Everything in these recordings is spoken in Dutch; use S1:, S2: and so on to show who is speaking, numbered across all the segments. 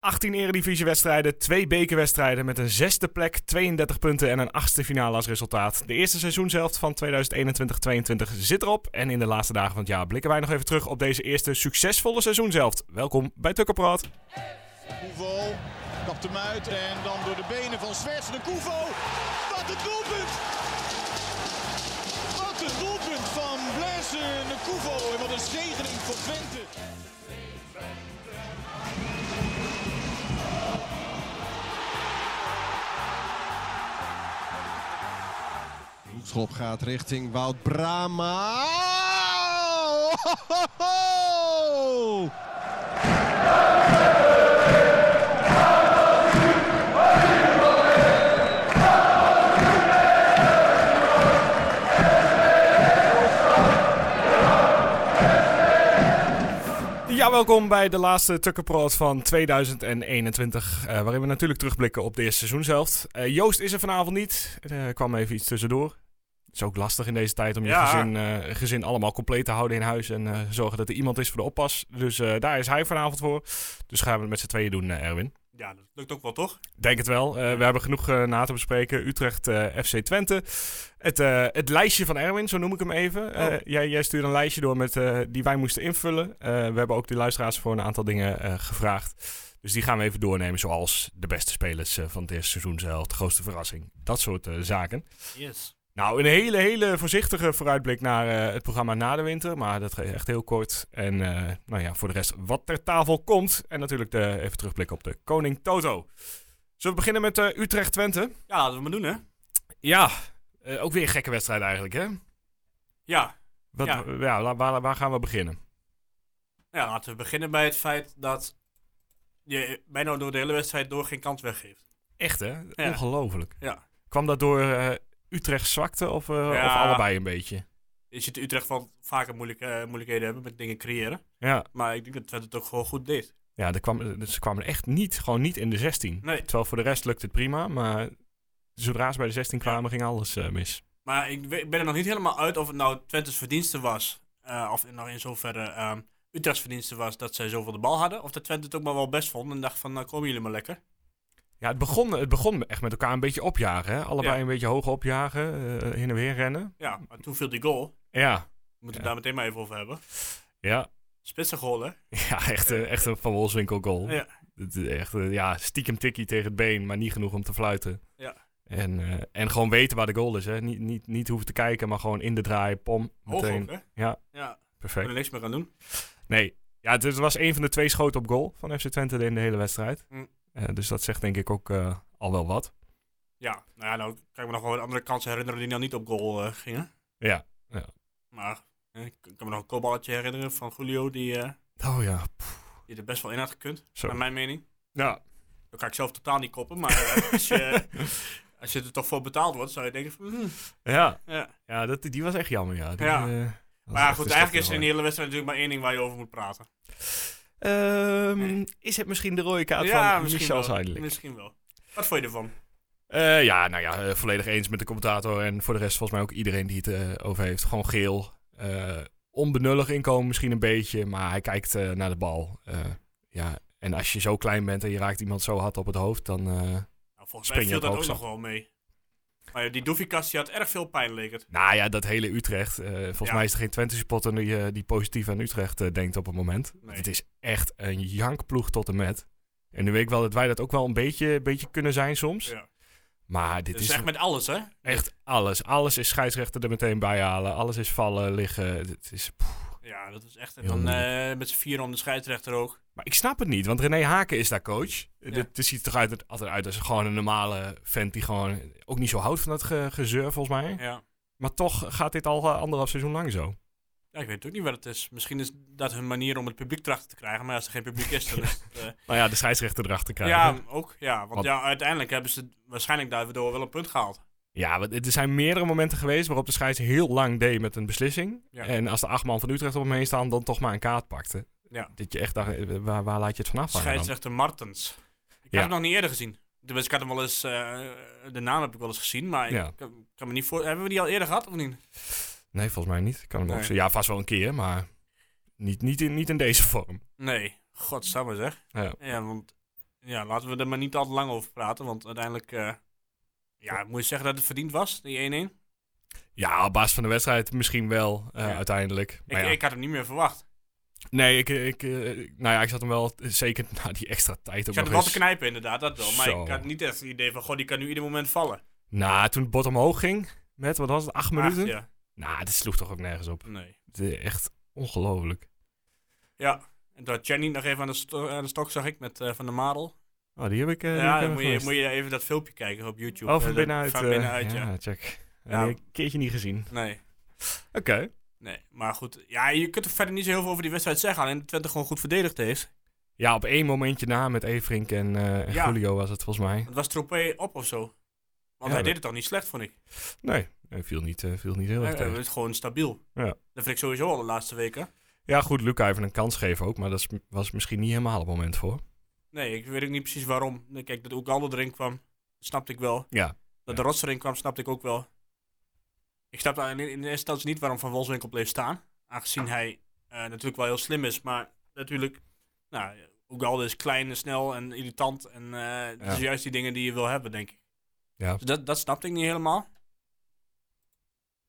S1: 18 eredivisiewedstrijden, twee bekerwedstrijden met een zesde plek, 32 punten en een achtste finale als resultaat. De eerste seizoenshelft van 2021-22 zit erop en in de laatste dagen van het jaar blikken wij nog even terug op deze eerste succesvolle seizoenshelft. Welkom bij Tukkerpraat.
S2: Koevo kapt hem uit en dan door de benen van Zwerts de Koevo. Wat een doelpunt! Wat een doelpunt van Blaise de Koevo en wat een zegening voor Twente.
S3: Hoekschop gaat richting Wout Brama. Oh,
S1: Ja, welkom bij de laatste Tukkenproot van 2021. eh, waarin we natuurlijk terugblikken op de eerste seizoenshelft. Eh, Joost is er vanavond niet. Er kwam even iets tussendoor. Het is ook lastig in deze tijd om je
S4: Ja.
S1: gezin, eh, gezin allemaal compleet te houden in huis. En eh, zorgen dat er iemand is voor de oppas. Dus eh, daar is hij vanavond voor. Dus gaan we het met z'n tweeën doen, eh, Erwin.
S4: Ja, dat lukt ook wel, toch?
S1: Denk het wel. Eh, we hebben genoeg eh, na te bespreken. Utrecht, eh, FC Twente. Het, eh, het lijstje van Erwin, zo noem ik hem even. Eh, jij, jij stuurde een lijstje door met, eh, die wij moesten invullen. Eh, we hebben ook de luisteraars voor een aantal dingen eh, gevraagd. Dus die gaan we even doornemen, zoals de beste spelers eh, van het eerste seizoen zelf, de grootste verrassing. Dat soort eh, zaken.
S4: Yes.
S1: Nou, een hele, hele voorzichtige vooruitblik naar eh, het programma na de winter. Maar dat gaat echt heel kort. En eh, nou ja, voor de rest wat ter tafel komt. En natuurlijk de, even terugblikken op de Koning Toto. Zullen we beginnen met eh, Utrecht-Twente?
S4: Ja, laten we maar doen, hè?
S1: Ja, eh, ook weer een gekke wedstrijd eigenlijk, hè?
S4: Ja.
S1: Wat, ja.
S4: Ja.
S1: la- waar, waar gaan we beginnen?
S4: ja, laten we beginnen bij het feit dat je bijna door de hele wedstrijd door geen kans weggeeft.
S1: Echt, hè? Ongelooflijk.
S4: Ja.
S1: Kwam dat door eh Utrecht zwakte of, eh, of
S4: Ja.
S1: allebei een beetje?
S4: Je ziet Utrecht wel vaker moeilijk, eh, moeilijkheden hebben met dingen creëren.
S1: Ja,
S4: Maar ik denk dat Twente het ook gewoon goed deed.
S1: ja er kwam, er- ze kwamen echt niet, gewoon niet in de 16.
S4: Nee.
S1: Terwijl voor de rest lukte het prima, maar zodra ze bij de 16 kwamen, ging alles eh, mis.
S4: Maar ik we- ik ben er nog niet helemaal uit of het nou Twente's verdienste was. eh, of het nou in zoverre ehm, Utrecht's verdienste was dat zij zoveel de bal hadden. Of dat Twente het ook maar wel best vond en dacht van, nou komen jullie maar lekker.
S1: Ja, het begon, het begon echt met elkaar een beetje opjagen. Hè? Allebei
S4: Ja.
S1: een beetje hoog opjagen, eh, heen en weer rennen.
S4: Ja, maar toen viel die goal.
S1: Ja,
S4: We moeten
S1: Ja.
S4: het daar meteen maar even over hebben.
S1: ja.
S4: Spitsen goal, hè?
S1: Ja, echt, eh, echt een Van Wolfswinkel goal.
S4: Ja.
S1: Het is echt, eh, ja, stiekem tikkie tegen het been, maar niet genoeg om te fluiten.
S4: Ja.
S1: En, eh, en gewoon weten waar de goal is. Hè. Niet, niet, niet hoeven te kijken, maar gewoon in de draai, pom,
S4: Hoog
S1: meteen.
S4: ook, hè?
S1: Ja.
S4: Ja,
S1: Perfect.
S4: kunnen er niks meer aan doen.
S1: Nee. Ja, het, het was een van de twee schoten op goal van FC Twente in de hele wedstrijd.
S4: Mm.
S1: Eh, dus dat zegt denk ik ook eh, al wel wat.
S4: Ja, nou ja, nou kan ik me nog wel andere kansen herinneren die nou niet op goal eh, gingen.
S1: Ja, ja.
S4: Maar eh, ik kan me nog een kopballetje herinneren van Julio die, eh,
S1: Oh ja.
S4: die er best wel in had gekund,
S1: Zo.
S4: naar mijn mening.
S1: Ja.
S4: Dan kan ik zelf totaal niet koppen, maar eh, als, je, als je er toch voor betaald wordt, zou je denken van... hmm,
S1: Ja,
S4: ja.
S1: ja dat, die was echt jammer, ja. Die,
S4: Ja.
S1: eh, was
S4: Maar ja,
S1: echt
S4: goed,
S1: een
S4: eigenlijk is er in
S1: stapje
S4: de hele wedstrijd natuurlijk maar één ding waar je over moet praten.
S1: Ehm, Is het misschien de rode kaart van Michel
S4: wel.
S1: Zuidelijk?
S4: Misschien wel. Wat vond je ervan?
S1: Eh, ja, nou ja, eh, volledig eens met de commentator. En voor de rest volgens mij ook iedereen die het eh, over heeft. Gewoon geel. Eh, onbenullig inkomen misschien een beetje, maar hij kijkt eh, naar de bal. Eh, ja, en als je zo klein bent en je raakt iemand zo hard op het hoofd, dan... eh,
S4: Nou, volgens
S1: Spring
S4: mij
S1: je
S4: viel
S1: het
S4: dat ook
S1: hoogste?
S4: nog wel mee. Maar ja, die Doefikas, die had erg veel pijn, leek het.
S1: Nou ja, dat hele Utrecht. eh, volgens
S4: Ja.
S1: mij is er geen Twente supporter die, eh, die positief aan Utrecht eh, denkt op het moment.
S4: Nee.
S1: Het is echt een jankploeg tot en met. En nu weet ik wel dat wij dat ook wel een beetje, beetje kunnen zijn soms.
S4: Ja.
S1: Maar dit
S4: Dus
S1: is
S4: echt
S1: echt,
S4: met alles, hè?
S1: alles. Alles is scheidsrechter er meteen bij halen. Alles is vallen, liggen. Het is, poeh.
S4: Ja, dat was echt. En
S1: Heel
S4: dan
S1: moeilijk.
S4: eh, met z'n vier om de scheidsrechter ook.
S1: Maar ik snap het niet, want René Haken is daar coach. Eh,
S4: Ja.
S1: Dit dit ziet er toch uit, altijd uit als gewoon een normale vent die gewoon ook niet zo houdt van dat ge- gezeur volgens mij.
S4: Ja.
S1: Maar toch gaat dit al eh, anderhalf seizoen lang zo.
S4: ja, ik weet ook niet wat het is. Misschien is dat hun manier om het publiek trachten te krijgen. Maar als er geen publiek is, dan is het... eh,
S1: Nou ja, de scheidsrechter erachter krijgen.
S4: ja, ook. Ja, want,
S1: Want-
S4: ja, uiteindelijk hebben ze waarschijnlijk daardoor wel een punt gehaald.
S1: Ja, want er zijn meerdere momenten geweest waarop de scheids heel lang deed met een beslissing.
S4: Ja.
S1: En als de acht man van Utrecht op hem heen staan, dan toch maar een kaart pakte.
S4: Ja.
S1: Dat je echt dacht, eh, waar, waar laat je het vanaf? hangen dan?
S4: Scheidsrechter Martens. Ik
S1: Ja.
S4: heb hem nog niet eerder gezien. Dus ik had hem wel eens... eh, de naam heb ik wel eens gezien, maar ik
S1: Ja.
S4: kan, kan me niet voor... Hebben we die al eerder gehad of niet?
S1: Nee, volgens mij niet. Ik Kan hem
S4: Nee.
S1: ook zo- Ja, vast wel een keer, maar niet, niet, in, niet in deze vorm.
S4: Nee. Godsamme zeg.
S1: Ja.
S4: Ja, want Ja, laten we er maar niet al te lang over praten, want uiteindelijk... eh, ja, moet je zeggen dat het verdiend was, die 1-1?
S1: Ja, op basis van de wedstrijd misschien wel eh,
S4: Ja.
S1: uiteindelijk. Maar
S4: Ik,
S1: ja.
S4: ik had hem niet meer verwacht.
S1: nee, ik, ik, eh, nou ja, ik zat hem wel eh, zeker na die extra tijd op
S4: Ik zat hem
S1: nog
S4: wel te
S1: eens-
S4: knijpen, inderdaad, dat wel. Maar
S1: Zo.
S4: ik had niet echt het idee van, goh, die kan nu ieder moment vallen.
S1: Nou, toen het bot omhoog ging, met wat was het, acht minuten?
S4: Ach, ja.
S1: Nou, dit sloeg toch ook nergens op.
S4: Nee.
S1: Het is echt ongelooflijk.
S4: Ja, en dat Jenny nog even aan de, sto- aan de stok zag ik met eh, Van der Marel.
S1: Oh, die heb ik. eh, die heb
S4: ja,
S1: ik
S4: dan moet je,
S1: gemist.
S4: moet je even dat filmpje kijken op YouTube.
S1: Oh, van
S4: Eh,
S1: binnenuit.
S4: Van
S1: eh,
S4: binnenuit, ja.
S1: check. Ja.
S4: Ja.
S1: die heb ik een keertje niet gezien.
S4: Nee,
S1: Oké.
S4: nee, maar goed. Ja, je kunt er verder niet zo heel veel over die wedstrijd zeggen. Alleen dat Twente gewoon goed verdedigd heeft.
S1: Ja, op één momentje na met Everink en, eh, en
S4: Ja.
S1: Julio was het volgens mij.
S4: Het was Tropé op of zo. Want hij
S1: dat-
S4: deed het al niet slecht, vond ik.
S1: Nee, hij viel niet, eh, viel niet heel erg
S4: Hij
S1: tegen.
S4: was gewoon stabiel.
S1: Ja.
S4: Dat vind ik sowieso al de laatste weken.
S1: Ja, goed, Luca even een kans geven ook, maar dat is- was misschien niet helemaal het moment voor.
S4: Nee, ik weet ook niet precies waarom. Nee, Kijk, dat Oegalde erin kwam, dat snapte ik wel.
S1: Ja.
S4: Dat de Rots erin kwam, snapte ik ook wel. Ik snapte in in eerste instantie niet waarom Van Wolfswinkel bleef staan. Aangezien hij eh, natuurlijk wel heel slim is, maar natuurlijk... Nou, Oegalde is klein en snel en irritant. En eh, dat
S1: Ja.
S4: is juist die dingen die je wil hebben, denk ik.
S1: Ja.
S4: Dus dat, dat snapte ik niet helemaal.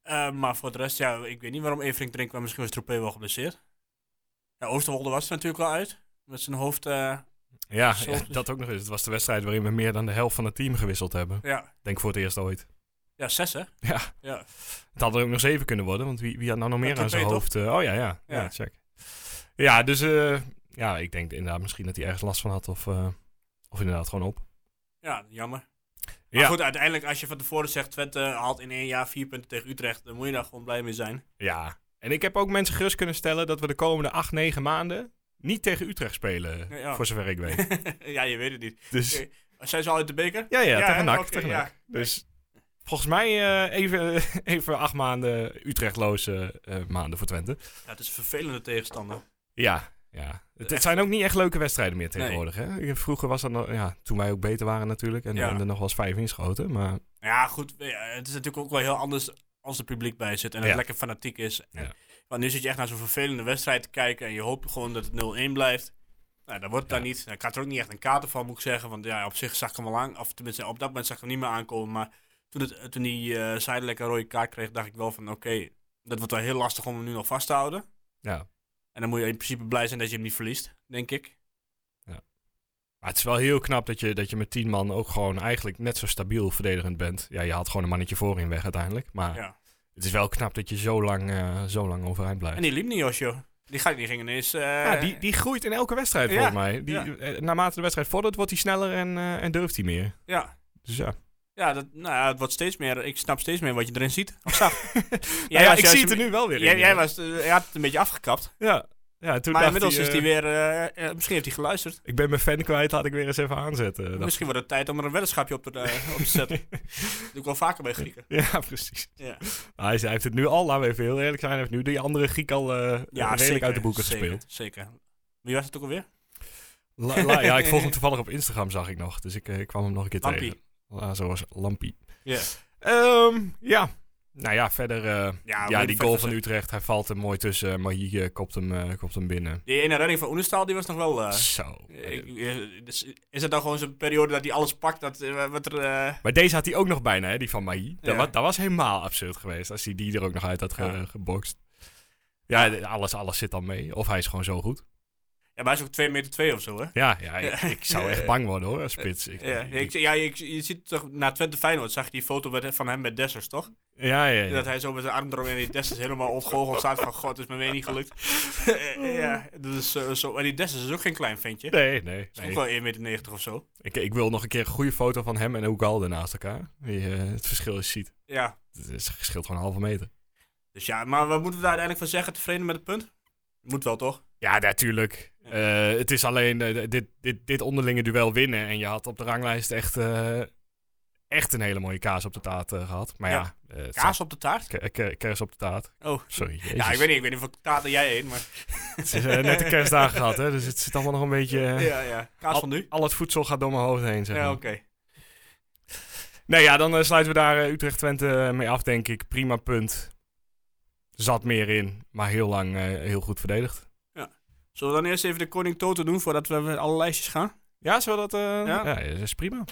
S4: Eh, maar voor de rest, ja, ik weet niet waarom Everink erin kwam. Misschien was Troepé wel geblesseerd. Ja, Oosterwolde was er natuurlijk wel uit. Met zijn hoofd... eh,
S1: Ja,
S4: Zo.
S1: ja, dat ook nog eens. Het was de wedstrijd waarin we meer dan de helft van het team gewisseld hebben.
S4: ja,
S1: Denk voor het eerst ooit.
S4: ja, zes hè?
S1: Ja,
S4: Ja.
S1: het had er ook nog zeven kunnen worden, want wie, wie had nou nog meer
S4: Ja,
S1: aan zijn
S4: Topé,
S1: hoofd? eh, oh ja, ja, ja,
S4: Ja.
S1: check. Ja, dus eh, ja, ik denk inderdaad misschien dat hij ergens last van had of, eh, of inderdaad gewoon op.
S4: Ja, jammer.
S1: Ja.
S4: Maar goed, uiteindelijk als je van tevoren zegt Twente haalt in één jaar vier punten tegen Utrecht, dan moet je daar gewoon blij mee zijn.
S1: Ja, en ik heb ook mensen gerust kunnen stellen dat we de komende acht, negen maanden niet tegen Utrecht spelen,
S4: Ja, ja.
S1: voor zover ik weet.
S4: ja, je weet het niet.
S1: Dus
S4: Oké. Zijn ze al uit de beker?
S1: ja, ja,
S4: hè?
S1: tegen NAC.
S4: Oké,
S1: tegen
S4: ja.
S1: NAC. Dus volgens mij eh, even, even acht maanden Utrechtloze eh, maanden voor Twente.
S4: Ja, het is een vervelende tegenstander.
S1: Ja, ja. Het, het zijn ook niet echt leuke wedstrijden meer tegenwoordig. Hè? Ik- Vroeger was dat nog, ja, toen wij ook beter waren natuurlijk. En,
S4: Ja.
S1: en er nog wel eens vijf inschoten. Maar
S4: Ja, goed. ja, Het is natuurlijk ook wel heel anders als er publiek bij zit en het
S1: Ja.
S4: lekker fanatiek is. En-
S1: Ja.
S4: Want nu zit je echt naar zo'n vervelende wedstrijd te kijken en je hoopt gewoon dat het 0-1 blijft. Nou, dat wordt het
S1: Ja.
S4: dan niet. Nou, Ik had er ook niet echt een kater van, moet ik zeggen. Want ja, op zich zag ik hem al aan. Of tenminste, op dat moment zag ik hem niet meer aankomen. Maar toen, het, toen die eh zijdelijk een rode kaart kreeg, dacht ik wel van... Oké, dat wordt wel heel lastig om hem nu nog vast te houden.
S1: ja,
S4: En dan moet je in principe blij zijn dat je hem niet verliest, denk ik.
S1: Maar het is wel heel knap dat je, dat je met tien man ook gewoon eigenlijk net zo stabiel verdedigend bent. Ja, je haalt gewoon een mannetje voorin weg uiteindelijk. Maar
S4: Ja.
S1: het is wel knap dat je zo lang, eh, zo lang overeind blijft.
S4: En die liep niet, Josjo. Die, ga- die ging ineens... eh,
S1: ja, die, die groeit in elke wedstrijd
S4: Ja,
S1: volgens mij. Die,
S4: ja.
S1: eh, Naarmate de wedstrijd vordert, wordt hij sneller en, eh, en durft hij meer.
S4: ja.
S1: Dus ja.
S4: Ja, dat, nou ja, het wordt steeds meer. Ik snap steeds meer wat je erin ziet. Of zag.
S1: Nou ja, ik zie het
S4: nu
S1: er nu wel weer in.
S4: Jij, jij
S1: ja.
S4: was, eh, jij had het een beetje afgekapt.
S1: ja. Ja, toen
S4: maar
S1: dacht
S4: inmiddels
S1: hij,
S4: is hij
S1: eh,
S4: weer. eh, eh, misschien heeft hij geluisterd.
S1: Ik ben mijn fan kwijt, had ik weer eens even aanzetten. Nou. dacht
S4: misschien wordt het tijd om er een weddenschapje op te, eh, op te zetten. Dat doe ik wel vaker bij Grieken.
S1: Ja, precies.
S4: Ja,
S1: Maar hij, hij heeft het nu al, laten we even heel eerlijk zijn, hij heeft nu die andere Griek al eh, redelijk uit de boeken
S4: zeker,
S1: gespeeld.
S4: Zeker. Wie was het ook alweer?
S1: La- la- ja, ik volg hem toevallig op Instagram, zag ik nog. Dus ik, eh, ik kwam hem nog een keer tegen.
S4: Lampie.
S1: La- zoals Lampie.
S4: Ja.
S1: Ehm, ja. Nou ja, verder. eh, ja,
S4: weet je,
S1: die
S4: vet
S1: goal
S4: was
S1: van
S4: het.
S1: Utrecht. Hij valt er mooi tussen. eh, Maar hier kopt, hem, eh, kopt hem binnen.
S4: Die ene redding van Oenestaal, die was nog wel. eh,
S1: Zo.
S4: ik- eh, dus is het dan gewoon zo'n periode dat hij alles pakt? Dat, eh, wat er, eh,
S1: Maar deze had hij ook nog bijna, hè, die van Maï. Dat,
S4: Ja.
S1: wa- dat was helemaal absurd geweest als hij die er ook nog uit had ge-
S4: Ja.
S1: gebokst. Ja, d- alles, alles zit dan mee. Of hij is gewoon zo goed.
S4: Ja, maar hij is ook 2 meter 2 of zo, hè?
S1: Ja, ja ik,
S4: Ja.
S1: ik zou echt bang worden hoor, als spits. Ik,
S4: Ja,
S1: ik-
S4: ik, ja ik, je ziet toch na Twente Feyenoord zag je die foto met- van hem met Dessers, toch?
S1: ja, ja, ja.
S4: Dat hij zo met zijn arm eromheen en die Dessers helemaal ontgoocheld staat van... God, is me weer niet gelukt. ja, dat is eh, zo. En die Dessers is ook geen klein ventje.
S1: Nee, nee.
S4: Is
S1: nee.
S4: ook wel 1,90 meter of zo.
S1: Ik, ik wil nog een keer een goede foto van hem en Ugalde naast elkaar. Die, eh, het verschil is ziet.
S4: Ja.
S1: Het is- het scheelt gewoon een halve meter.
S4: Dus ja, maar wat moeten we daar uiteindelijk van zeggen? Tevreden met het punt? Moet wel, toch?
S1: Ja, natuurlijk. Eh, het is alleen eh, dit, dit, dit onderlinge duel winnen. En je had op de ranglijst echt, eh, echt een hele mooie kaas op de taart eh, gehad. Maar ja,
S4: Ja.
S1: eh, het staat-
S4: Kaas op de taart?
S1: Ke- ke- Kers op de taart.
S4: Oh.
S1: Sorry.
S4: Ja, ik weet niet, ik weet niet of taart er jij heen, maar...
S1: Het is eh, net de kerstdagen gehad, hè? Dus het zit allemaal nog een beetje. eh,
S4: Ja, ja. Kaas
S1: al-
S4: van nu?
S1: Al het voedsel gaat door mijn hoofd heen, zeg maar.
S4: Ja, oké.
S1: Nee, ja, dan eh, sluiten we daar eh, Utrecht-Twente mee af, denk ik. Prima punt. Zat meer in, maar heel lang eh, heel goed verdedigd.
S4: Zullen we dan eerst even de koning Toto doen voordat we met alle lijstjes gaan?
S1: Ja, zo dat... eh, ja.
S4: Ja.
S1: dat is prima.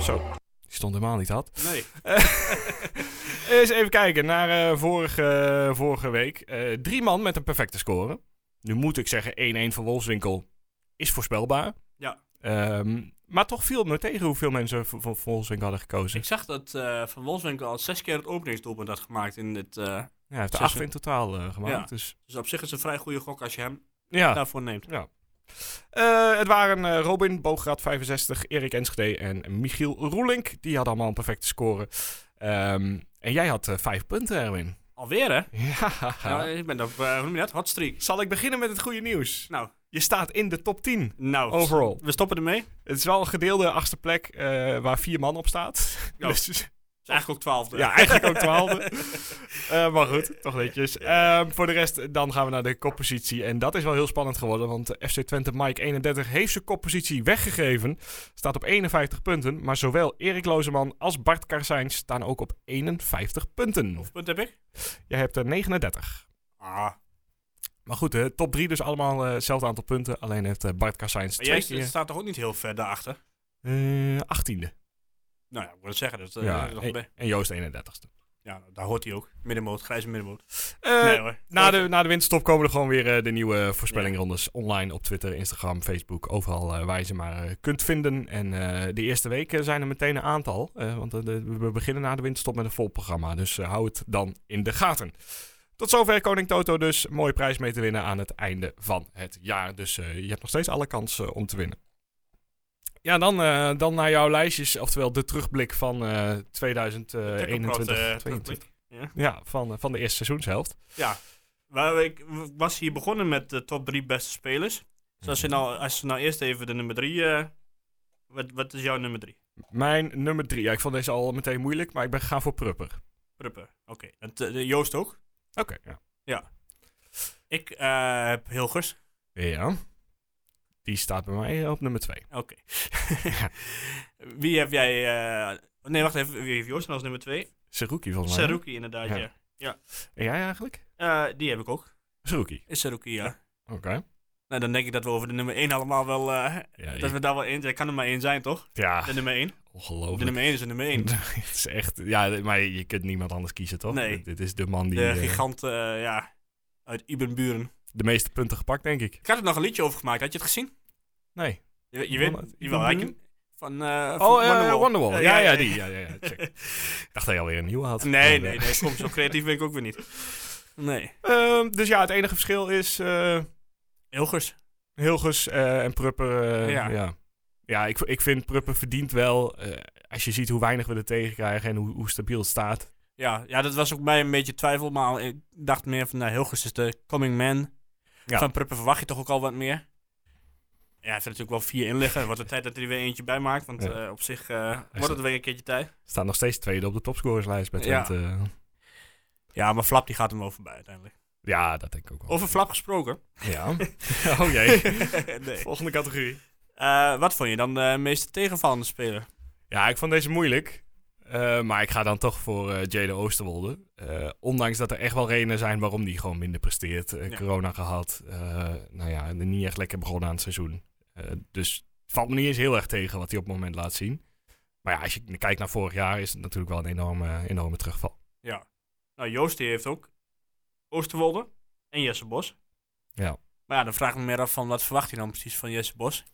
S1: Zo, die stond helemaal niet had.
S4: Nee.
S1: Eh, Eens even kijken naar eh, vorige, vorige week. Eh, drie man met een perfecte score. Nu moet ik zeggen, 1-1 voor Wolfswinkel is voorspelbaar.
S4: Ja.
S1: Ehm, maar toch viel het me tegen hoeveel mensen voor, voor Wolfswinkel hadden gekozen.
S4: Ik zag dat eh, Van Wolfswinkel al zes keer het openingsdoelpunt had gemaakt in dit... eh,
S1: Ja, hij heeft er
S4: Zes-
S1: acht in totaal eh, gemaakt.
S4: Ja.
S1: Dus,
S4: dus op zich is het een vrij goede gok als je hem
S1: ja.
S4: daarvoor neemt.
S1: Eh, het waren eh, Robin, Boograad 65, Erik Enschede en Michiel Roelink. Die hadden allemaal een perfecte score. Ehm, en jij had eh, vijf punten, Erwin.
S4: Alweer, hè?
S1: Ja.
S4: Nou, ik ben op, eh, hoe noem je dat? Hot streak.
S1: Zal ik beginnen met het goede nieuws?
S4: Nou,
S1: Je staat in de top 10
S4: nou.
S1: overall.
S4: We stoppen ermee. Het
S1: Het is wel een gedeelde achtste plek eh, waar vier man op staat.
S4: Ja.
S1: Dus,
S4: is eigenlijk ook twaalfde.
S1: ja, eigenlijk ook twaalfde. Eh maar goed, toch netjes. Ehm, voor de rest, dan gaan we naar de koppositie. En dat is wel heel spannend geworden, want eh, FC Twente Mike 31 heeft zijn koppositie weggegeven. Staat op 51 punten, maar zowel Erik Lozeman als Bart Karsijn staan ook op 51 punten.
S4: Punt heb ik?
S1: Jij hebt eh, er 39.
S4: Ah.
S1: Maar goed, de top 3 dus allemaal eh, hetzelfde aantal punten. Alleen heeft eh, Bart Karsijn
S4: Maar jij
S1: twee
S4: st-
S1: keer...
S4: staat toch ook niet heel ver daarachter?
S1: eh, 18e.
S4: Nou ja, ik wil het zeggen. Dat, eh,
S1: Ja,
S4: dat-
S1: en, en Joost 31ste.
S4: ja, daar hoort hij ook. Middenmoot, grijze middenmoot.
S1: Eh,
S4: nee hoor.
S1: na, de, na de winterstop komen er gewoon weer eh, de nieuwe voorspellingrondes online op Twitter, Instagram, Facebook. Overal eh, waar je ze maar eh, kunt vinden. En eh, de eerste week eh, zijn er meteen een aantal. eh, want eh, de- we beginnen na de winterstop met een vol programma. Dus eh, hou het dan in de gaten. Tot zover Koning Toto dus. Mooie prijs mee te winnen aan het einde van het jaar. Dus eh, je hebt nog steeds alle kansen eh, om te winnen. Ja, dan, eh, dan naar jouw lijstjes. Oftewel de terugblik van eh 2021.
S4: Tekkelprot, eh,
S1: 22.
S4: terugblik. Ja.
S1: Ja, van, eh, van de eerste seizoenshelft.
S4: Ja, waar ik w- was hier begonnen met de top drie beste spelers. Dus als je
S1: Mhm.
S4: nou, als je nou eerst even de nummer drie... eh, wat, wat is jouw nummer drie?
S1: Mijn nummer drie. Ja, ik vond deze al meteen moeilijk, maar ik ben gegaan voor Prupper.
S4: Prupper. Oké. Dat, eh, de Joost ook.
S1: Oké, ja.
S4: Ik eh, heb Hilgers.
S1: Ja. Die staat bij mij eh, op nummer twee.
S4: Oké. Wie heb jij... eh, nee, wacht even. Wie heeft Joost nou als nummer twee?
S1: Seruki volgens mij.
S4: Saruki inderdaad,
S1: Ja.
S4: ja.
S1: En jij eigenlijk?
S4: Eh, die heb ik ook.
S1: Seruki.
S4: Is Saruki, ja.
S1: Oké.
S4: Nou, dan denk ik dat we over de nummer 1 allemaal wel... eh,
S1: Ja, Ah,
S4: dat
S1: ik-
S4: we daar wel één... Er kan er maar één zijn, toch?
S1: ja,
S4: De nummer 1. De
S1: ongelooflijk.
S4: nummer 1 is de nummer 1.
S1: Het is echt... Ja, maar je kunt niemand anders kiezen, toch?
S4: Nee.
S1: Dit- Dit is de man die
S4: De
S1: eh,
S4: gigant, eh, ja, uit Ibenburen.
S1: de meeste punten gepakt, denk ik.
S4: Ik had er nog een liedje over gemaakt, had je het gezien?
S1: Nee.
S4: Je, je
S1: Van
S4: weet,
S1: uit
S4: je wel, had je-
S1: Ibenburen?
S4: van, eh van
S1: Oh, eh, Wonderwall. Ja, ja,
S4: ja.
S1: die. Ja, ja, ja. Check. Ik dacht dat je alweer een nieuwe had.
S4: Nee,
S1: Maar,
S4: nee,
S1: eh,
S4: nee, kom, zo creatief ben ik ook weer niet. Nee.
S1: ehm, dus ja, het enige verschil is... eh,
S4: Hilgers.
S1: Hilgers eh, en Prupper. eh, ja.
S4: Ja.
S1: ja. ik, ik vind Prupper verdient wel. eh, als je ziet hoe weinig we er tegen krijgen en hoe, hoe stabiel het staat.
S4: Ja, ja, dat was ook mij een beetje twijfel, maar ik dacht meer van, nou, Hilgers is de coming man.
S1: Ja.
S4: Van Pruppen verwacht je toch ook al wat meer. Ja, hij heeft er natuurlijk wel vier in liggen. Wat de tijd dat hij er weer eentje bij maakt, want
S1: Ja.
S4: eh, op zich eh, wordt het weer een keertje tijd.
S1: Staat nog steeds tweede op de topscorerslijst bij
S4: Ja.
S1: Twente. Ja.
S4: Ja, maar Flap die gaat hem wel voorbij uiteindelijk.
S1: dat denk ik ook wel.
S4: Over Flap gesproken.
S1: Ja. oh jee.
S4: nee.
S1: Volgende categorie.
S4: Eh, wat vond je dan de meeste tegenvallende speler?
S1: Ja, ik vond deze moeilijk. Eh, maar ik ga dan toch voor eh Jade Oosterwolde. Eh, ondanks dat er echt wel redenen zijn waarom die gewoon minder presteert. Eh,
S4: Ja.
S1: Corona gehad. eh, nou ja, en niet echt lekker begonnen aan het seizoen. Eh, dus het valt me niet eens heel erg tegen wat hij op het moment laat zien. Maar ja, als je kijkt naar vorig jaar is het natuurlijk wel een enorme, enorme terugval.
S4: Ja. Nou, Joost die heeft ook Oosterwolde en Jesse Bos.
S1: Ja.
S4: Maar ja, dan vraag ik me meer af van wat verwacht je dan precies van Jesse Bos?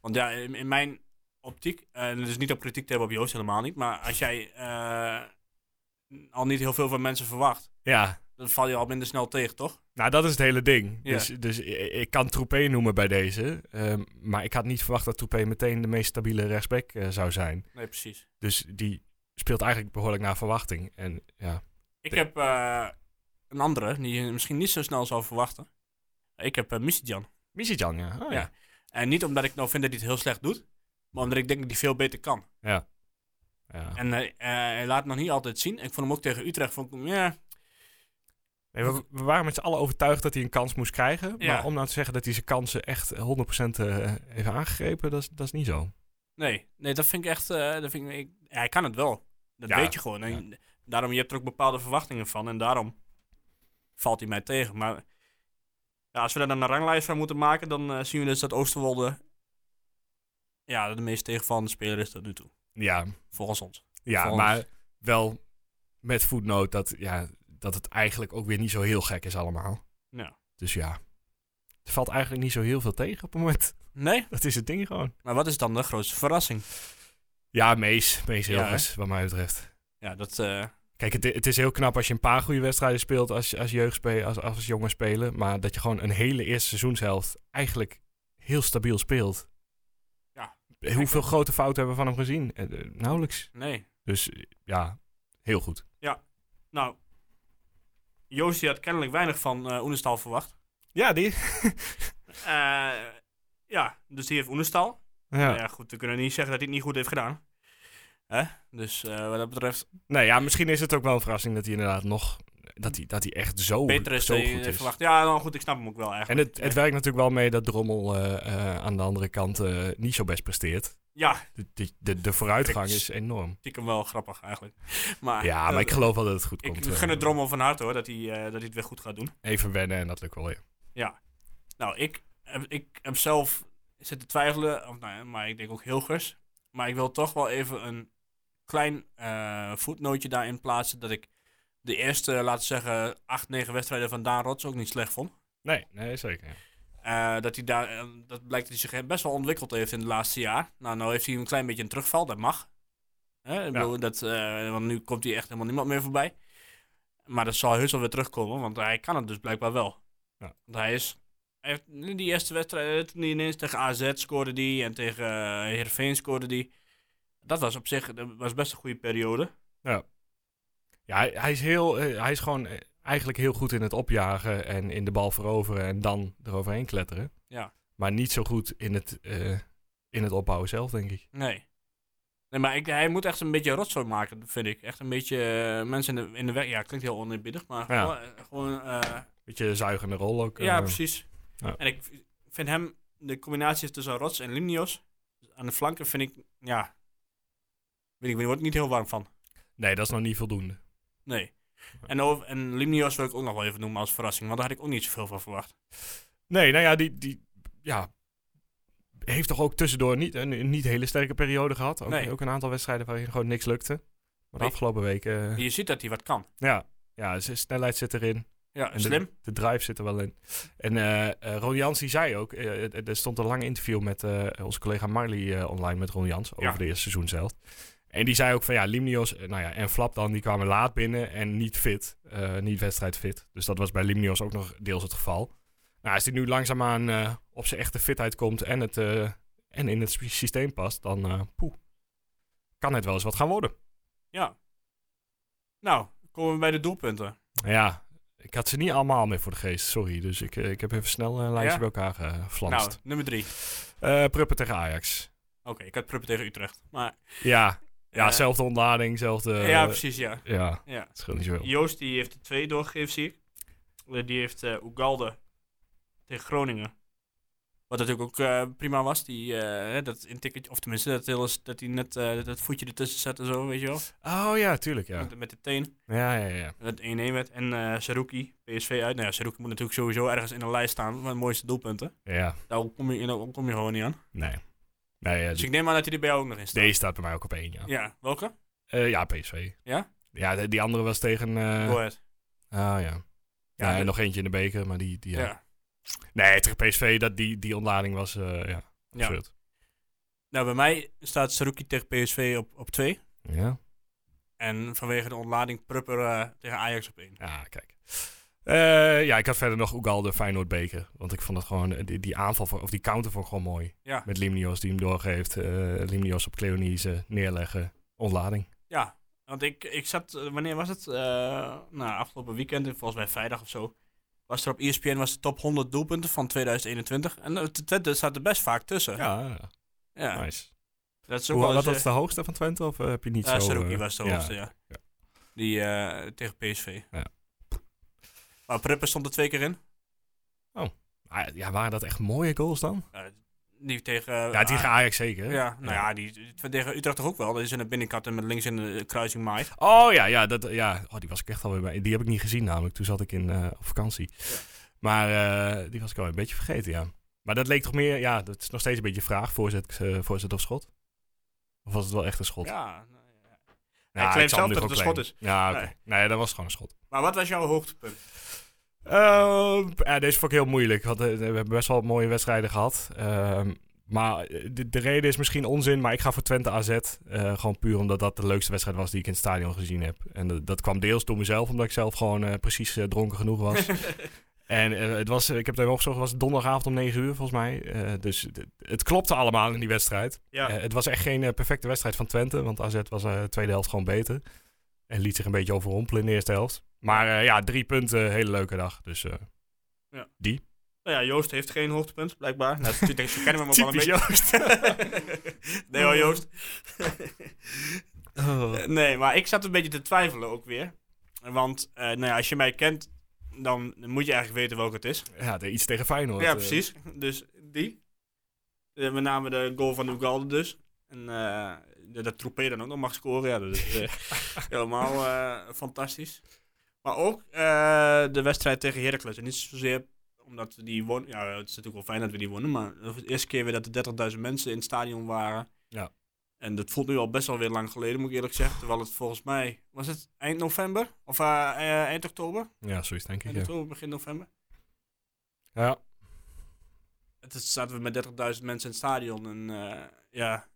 S4: Want ja, in, in mijn optiek, en dus niet op kritiek te hebben op Joost helemaal niet, maar als jij eh, al niet heel veel van mensen verwacht,
S1: Ja,
S4: dan val je al minder snel tegen, toch?
S1: Nou, dat is het hele ding.
S4: Ja.
S1: Dus, dus i- ik kan Troepé noemen bij deze. ehm, maar ik had niet verwacht dat Troepé meteen de meest stabiele rechtsback eh, zou zijn.
S4: Nee, precies.
S1: Dus die speelt eigenlijk behoorlijk naar verwachting. En ja,
S4: Ik
S1: Nee.
S4: heb eh, een andere die je misschien niet zo snel zou verwachten. Ik heb uh, Misijan.
S1: Misitjan, ja. Oh, ja.
S4: Ja. En niet omdat ik nou vind dat hij het heel slecht doet, maar omdat ik denk dat hij veel beter kan.
S1: Ja.
S4: En hij, eh, hij laat het nog niet altijd zien. Ik vond hem ook tegen Utrecht, vond ik hem, ja,
S1: Nee, we, we waren met z'n allen overtuigd dat hij een kans moest krijgen.
S4: Ja.
S1: Maar om nou te zeggen dat hij zijn kansen echt 100% eh, heeft aangegrepen, dat is, dat is niet zo.
S4: nee, nee, dat vind ik echt, eh, dat vind ik, ik- hij kan het wel. Dat
S1: Ja.
S4: weet je gewoon. En Daarom, je hebt er ook bepaalde verwachtingen van en daarom valt hij mij tegen. Maar Ja, als we daar dan een ranglijst van moeten maken, dan eh, zien we dus dat Oosterwolde ja, de meest tegenvallende speler is tot nu toe.
S1: Ja,
S4: Volgens ons.
S1: ja
S4: Volgens-
S1: maar wel met voetnoot dat, ja, dat het eigenlijk ook weer niet zo heel gek is allemaal.
S4: Ja.
S1: Dus ja, er valt eigenlijk niet zo heel veel tegen op het moment.
S4: Nee?
S1: Dat is het ding gewoon.
S4: Maar wat is dan de grootste verrassing?
S1: Ja, Mees. Mees
S4: Ja,
S1: Hilgers, wat mij betreft.
S4: Ja, dat... eh,
S1: Kijk, het, het is heel knap als je een paar goede wedstrijden speelt als, als jeugdspeler, als, als jonge speler. Maar dat je gewoon een hele eerste seizoenshelft eigenlijk heel stabiel speelt.
S4: Ja.
S1: Hoeveel grote fouten hebben we van hem gezien? Eh, eh, nauwelijks.
S4: nee.
S1: Dus eh, ja, heel goed.
S4: Nou, Joost die had kennelijk weinig van eh Oenestal verwacht.
S1: Ja, die.
S4: Eh, ja, dus die heeft Oenestal.
S1: Ja.
S4: Ja. goed, we kunnen niet zeggen dat hij het niet goed heeft gedaan. Hè? Dus eh, wat dat betreft,
S1: Nou ja, misschien is het ook wel een verrassing dat hij inderdaad nog... Dat hij, dat hij echt zo,
S4: beter is
S1: zo
S4: dan je
S1: goed
S4: heeft
S1: is.
S4: verwacht. Ja, nou goed, ik snap hem ook wel eigenlijk.
S1: En het, het werkt natuurlijk wel mee dat Drommel eh, eh, aan de andere kant eh, niet zo best presteert.
S4: Ja,
S1: De, de, de, de vooruitgang is enorm.
S4: ik hem wel grappig eigenlijk. Maar, eh,
S1: Ja, maar ik geloof wel dat het goed
S4: ik
S1: komt.
S4: gun
S1: eh.
S4: het drommel van harte hoor, dat hij, eh, dat hij het weer goed gaat doen.
S1: Even wennen en dat lukt wel, ja.
S4: Nou, ik heb, ik heb zelf zitten twijfelen, of, nou, ja, maar ik denk ook Hilgers. Maar ik wil toch wel even een klein eh, voetnootje daarin plaatsen dat ik de eerste, laten we zeggen, acht, negen wedstrijden van Daan Rots ook niet slecht vond.
S1: Nee, nee, zeker.
S4: Eh, dat, hij daar, eh, dat blijkt dat hij zich best wel ontwikkeld heeft in het laatste jaar. Nou, nou heeft hij een klein beetje een terugval, dat mag. Hè, ik
S1: Ja.
S4: bedoel, dat, eh, want nu komt hij echt helemaal niemand meer voorbij. Maar dat zal heus wel weer terugkomen, want hij kan het dus blijkbaar wel.
S1: Ja.
S4: Want hij is... Hij heeft in die eerste wedstrijd, eh, toen hij ineens tegen AZ scoorde die en tegen eh, Heerenveen scoorde die. Dat was op zich dat was best een goede periode.
S1: Ja, hij, hij is heel, eh, hij is gewoon eh, eigenlijk heel goed in het opjagen en in de bal veroveren en dan eroverheen kletteren.
S4: Ja.
S1: Maar niet zo goed in het, eh, in het opbouwen zelf, denk ik.
S4: Nee. Nee, maar ik, hij moet echt een beetje rotzooi maken, vind ik. Echt een beetje eh, mensen in de, in de weg. Ja, klinkt heel oneerbiedig, maar
S1: Ja.
S4: gewoon. eh, gewoon eh,
S1: Beetje zuigende rol ook.
S4: ja,
S1: eh.
S4: precies.
S1: ja.
S4: En ik v- vind hem, de combinatie tussen Rots en Limnios, aan de flanken vind ik, ja. Weet ik, ik word er niet heel warm van.
S1: Nee, dat is nog niet voldoende.
S4: Nee. En, over, en Limnios wil ik ook nog wel even noemen als verrassing, want daar had ik ook niet zoveel van verwacht.
S1: Nee, nou ja, die, die ja, heeft toch ook tussendoor niet een, een niet hele sterke periode gehad. Ook,
S4: Nee.
S1: ook een aantal wedstrijden waarin gewoon niks lukte. Maar de
S4: Nee.
S1: afgelopen weken, eh,
S4: Je ziet dat hij wat kan.
S1: ja, ja, zijn snelheid zit erin.
S4: Ja,
S1: En
S4: slim.
S1: De, de drive zit er wel in. En eh eh, Ron Jans die zei ook, eh, eh, er stond een lang interview met eh, onze collega Marley eh, online met Ron Jans over
S4: Ja.
S1: de eerste seizoen zelf. En die zei ook van ja, Limnios eh, nou ja, en Flap dan, die kwamen laat binnen en niet fit. eh, niet wedstrijdfit. Dus dat was bij Limnios ook nog deels het geval. Nou, als die nu langzaamaan eh op zijn echte fitheid komt en, het, eh, en in het sy- systeem past, dan eh, poeh, kan het wel eens wat gaan worden.
S4: Ja. Nou, komen we bij de doelpunten.
S1: Ja, ik had ze niet allemaal mee voor de geest, sorry. Dus ik, eh, ik heb even snel een lijstje
S4: Ja?
S1: bij elkaar geflanst.
S4: Nou, nummer drie.
S1: Eh, Pruppen tegen Ajax.
S4: Oké, ik had Pruppen tegen Utrecht. Maar,
S1: Ja, ja
S4: eh,
S1: zelfde ontlading, zelfde... eh,
S4: ja, precies, ja.
S1: Ja,
S4: ja.
S1: het scheelt niet zoveel.
S4: Joost die heeft er twee doorgegeven, zie ik. Eh, Die heeft eh Ugalde tegen Groningen. Wat natuurlijk ook eh, prima was. Die, eh, hè, dat intikketje, of tenminste, dat, hele, s- dat hij net eh, dat voetje ertussen zet en zo, weet je wel.
S1: Oh ja, tuurlijk, ja.
S4: Met, met de teen.
S1: Ja, ja, ja.
S4: Dat 1-1 werd. En eh Saruki, PSV uit. Nou ja, Saruki moet natuurlijk sowieso ergens in de lijst staan van de mooiste doelpunten.
S1: Ja,
S4: Daar kom je, daar kom je gewoon niet aan.
S1: nee. Nee, ja,
S4: Dus
S1: die-
S4: ik neem aan dat hij er bij jou ook nog in staat.
S1: deze staat bij mij ook op één, ja. Ja,
S4: Ja, welke?
S1: ja PSV.
S4: Ja?
S1: Ja, de- die andere was tegen... eh,
S4: Go Ahead.
S1: Ah, ja. Ja, en
S4: dat-
S1: nog eentje in de beker, maar die... die ja.
S4: ja.
S1: Nee, tegen PSV, dat, die, die ontlading was eh, ja,
S4: Ja.
S1: absurd.
S4: Nou, bij mij staat Saruki tegen PSV op, op 2.
S1: Ja. ja.
S4: En vanwege de ontlading Prupper eh, tegen Ajax op 1.
S1: Ja, kijk. Eh, ja, ik had verder nog Ugalde Feyenoord beker. Want ik vond het gewoon, eh, die, die aanval, voor, of die counter vond ik gewoon mooi.
S4: Ja.
S1: Met Limnios die hem doorgeeft. eh, Limnios op Cleonise neerleggen. Ontlading.
S4: Ja, want ik, ik zat, eh, wanneer was het? Eh, nou, afgelopen weekend, volgens mij vrijdag of zo, was er op E ESPN was de top 100 doelpunten van 2021. En eh, T- Twente staat er best vaak tussen.
S1: Ja,
S4: Ja,
S1: Ah, nice.
S4: dat is ook
S1: Hoe,
S4: wel
S1: wat
S4: eens,
S1: was de hoogste van Twente? Of eh, heb je niet
S4: eh, eh,
S1: zo...
S4: Saruki
S1: eh,
S4: was de
S1: ja.
S4: hoogste, ja.
S1: ja.
S4: Die eh, tegen PSV.
S1: Ja.
S4: Maar Prupper stond er twee keer in.
S1: Ah, ja, waren dat echt mooie goals dan?
S4: Eh, die tegen...
S1: ja, die gaan Ajax zeker.
S4: Eh, ah. Ja, nou ja, die, die- tegen Utrecht toch ook wel. Dat is in de binnenkant en met links in de kruising maait.
S1: Oh ja, ja, dat, ja. Oh, die was ik echt alweer bij. Die heb ik niet gezien namelijk. Toen zat ik in, eh, op vakantie. Maar eh, die was ik al een beetje vergeten, ja. Maar dat leek toch meer, ja, dat is nog steeds een beetje een vraag. Voorzet, eh, voorzet of schot? Of was het wel echt een schot?
S4: Ja, nou ja.
S1: Ja,
S4: Hij
S1: ik
S4: claimt
S1: zal hem
S4: zelf
S1: nu
S4: dat het
S1: gewoon
S4: een schot
S1: claimen. Ja, oké.
S4: Nee.
S1: Nee, dat was gewoon een schot.
S4: Maar wat was jouw hoogtepunt?
S1: Ehm, ja, deze vond ik heel moeilijk. Want eh, we hebben best wel mooie wedstrijden gehad. Ehm, maar eh, de, de reden is misschien onzin, maar ik ga voor Twente AZ. Eh, gewoon puur omdat dat de leukste wedstrijd was die ik in het stadion gezien heb. En dat, dat kwam deels door mezelf, omdat ik zelf gewoon eh, precies eh, dronken genoeg was. en eh, het was, eh, ik heb het even opgezocht, het was donderdagavond om 9 uur volgens mij. Eh, dus het- het klopte allemaal in die wedstrijd.
S4: Ja.
S1: Eh, het was echt geen eh, perfecte wedstrijd van Twente, want AZ was eh, de tweede helft gewoon beter. En liet zich een beetje overrompelen in de eerste helft. Maar eh, ja, drie punten, hele leuke dag. Dus eh,
S4: Nou ja, Joost heeft geen hoogtepunt, blijkbaar. Nou, natuurlijk, ze kennen hem ook wel een
S1: Typisch
S4: beetje. Joost. nee hoor, Joost. Eh, Nee, maar ik zat een beetje te twijfelen ook weer. Want eh, nou ja, als je mij kent, dan moet je eigenlijk weten welke het is.
S1: ja, de- iets tegen Feyenoord.
S4: ja,
S1: eh.
S4: precies. Dus die. Eh, met name de goal van Ugalde dus. En eh, de- dat Troepé dan ook nog mag scoren. Ja, dat is eh, helemaal eh, fantastisch. Maar ook eh, de wedstrijd tegen Heracles. En niet zozeer omdat we die wonnen. Ja, het is natuurlijk wel fijn dat we die wonnen. Maar het was de eerste keer weer dat er 30.000 mensen in het stadion waren.
S1: Ja.
S4: En dat voelt nu al best wel weer lang geleden, moet ik eerlijk zeggen. Terwijl het volgens mij... Was het eind november? Of eh, eh, eind oktober?
S1: ja, zoiets denk ik.
S4: Eind
S1: Ja.
S4: oktober, begin november?
S1: Ja.
S4: het is, zaten we met 30.000 mensen in het stadion. En eh, ja,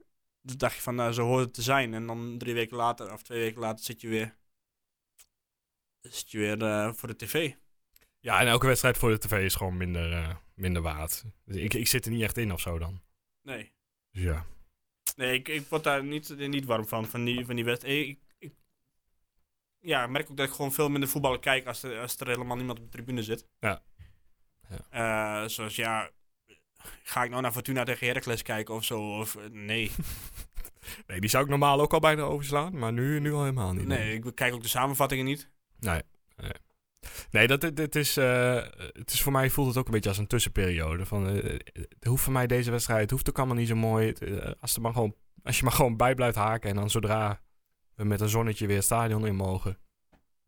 S4: toen dacht je van, nou, zo hoort het te zijn. En dan drie weken later, of twee weken later, zit je weer, zit je weer eh, voor de tv.
S1: ja, en elke wedstrijd voor de tv is gewoon minder, eh, minder waard. Dus ik, ik zit er niet echt in of zo dan.
S4: Nee,
S1: Dus ja.
S4: nee ik, ik word daar niet, eh, niet warm van, van die, van die wedstrijd. Ik, ik, ja, ik merk ook dat ik gewoon veel minder voetballen kijk als er, als er helemaal niemand op de tribune zit.
S1: Ja.
S4: Eh, zoals, ja, ga ik nou naar Fortuna tegen Heracles kijken of zo? Of, eh, nee.
S1: Nee, die zou ik normaal ook al bijna overslaan, maar nu, nu al helemaal niet.
S4: nee, ik kijk ook de samenvattingen niet.
S1: Nee. Nee, nee dat, dit, dit is, eh, het is voor mij voelt het ook een beetje als een tussenperiode. Van, eh, het hoeft voor mij deze wedstrijd, het hoeft ook allemaal niet zo mooi. Het, eh, als, er maar gewoon, als je maar gewoon bij blijft haken en dan zodra we met een zonnetje weer het stadion in mogen,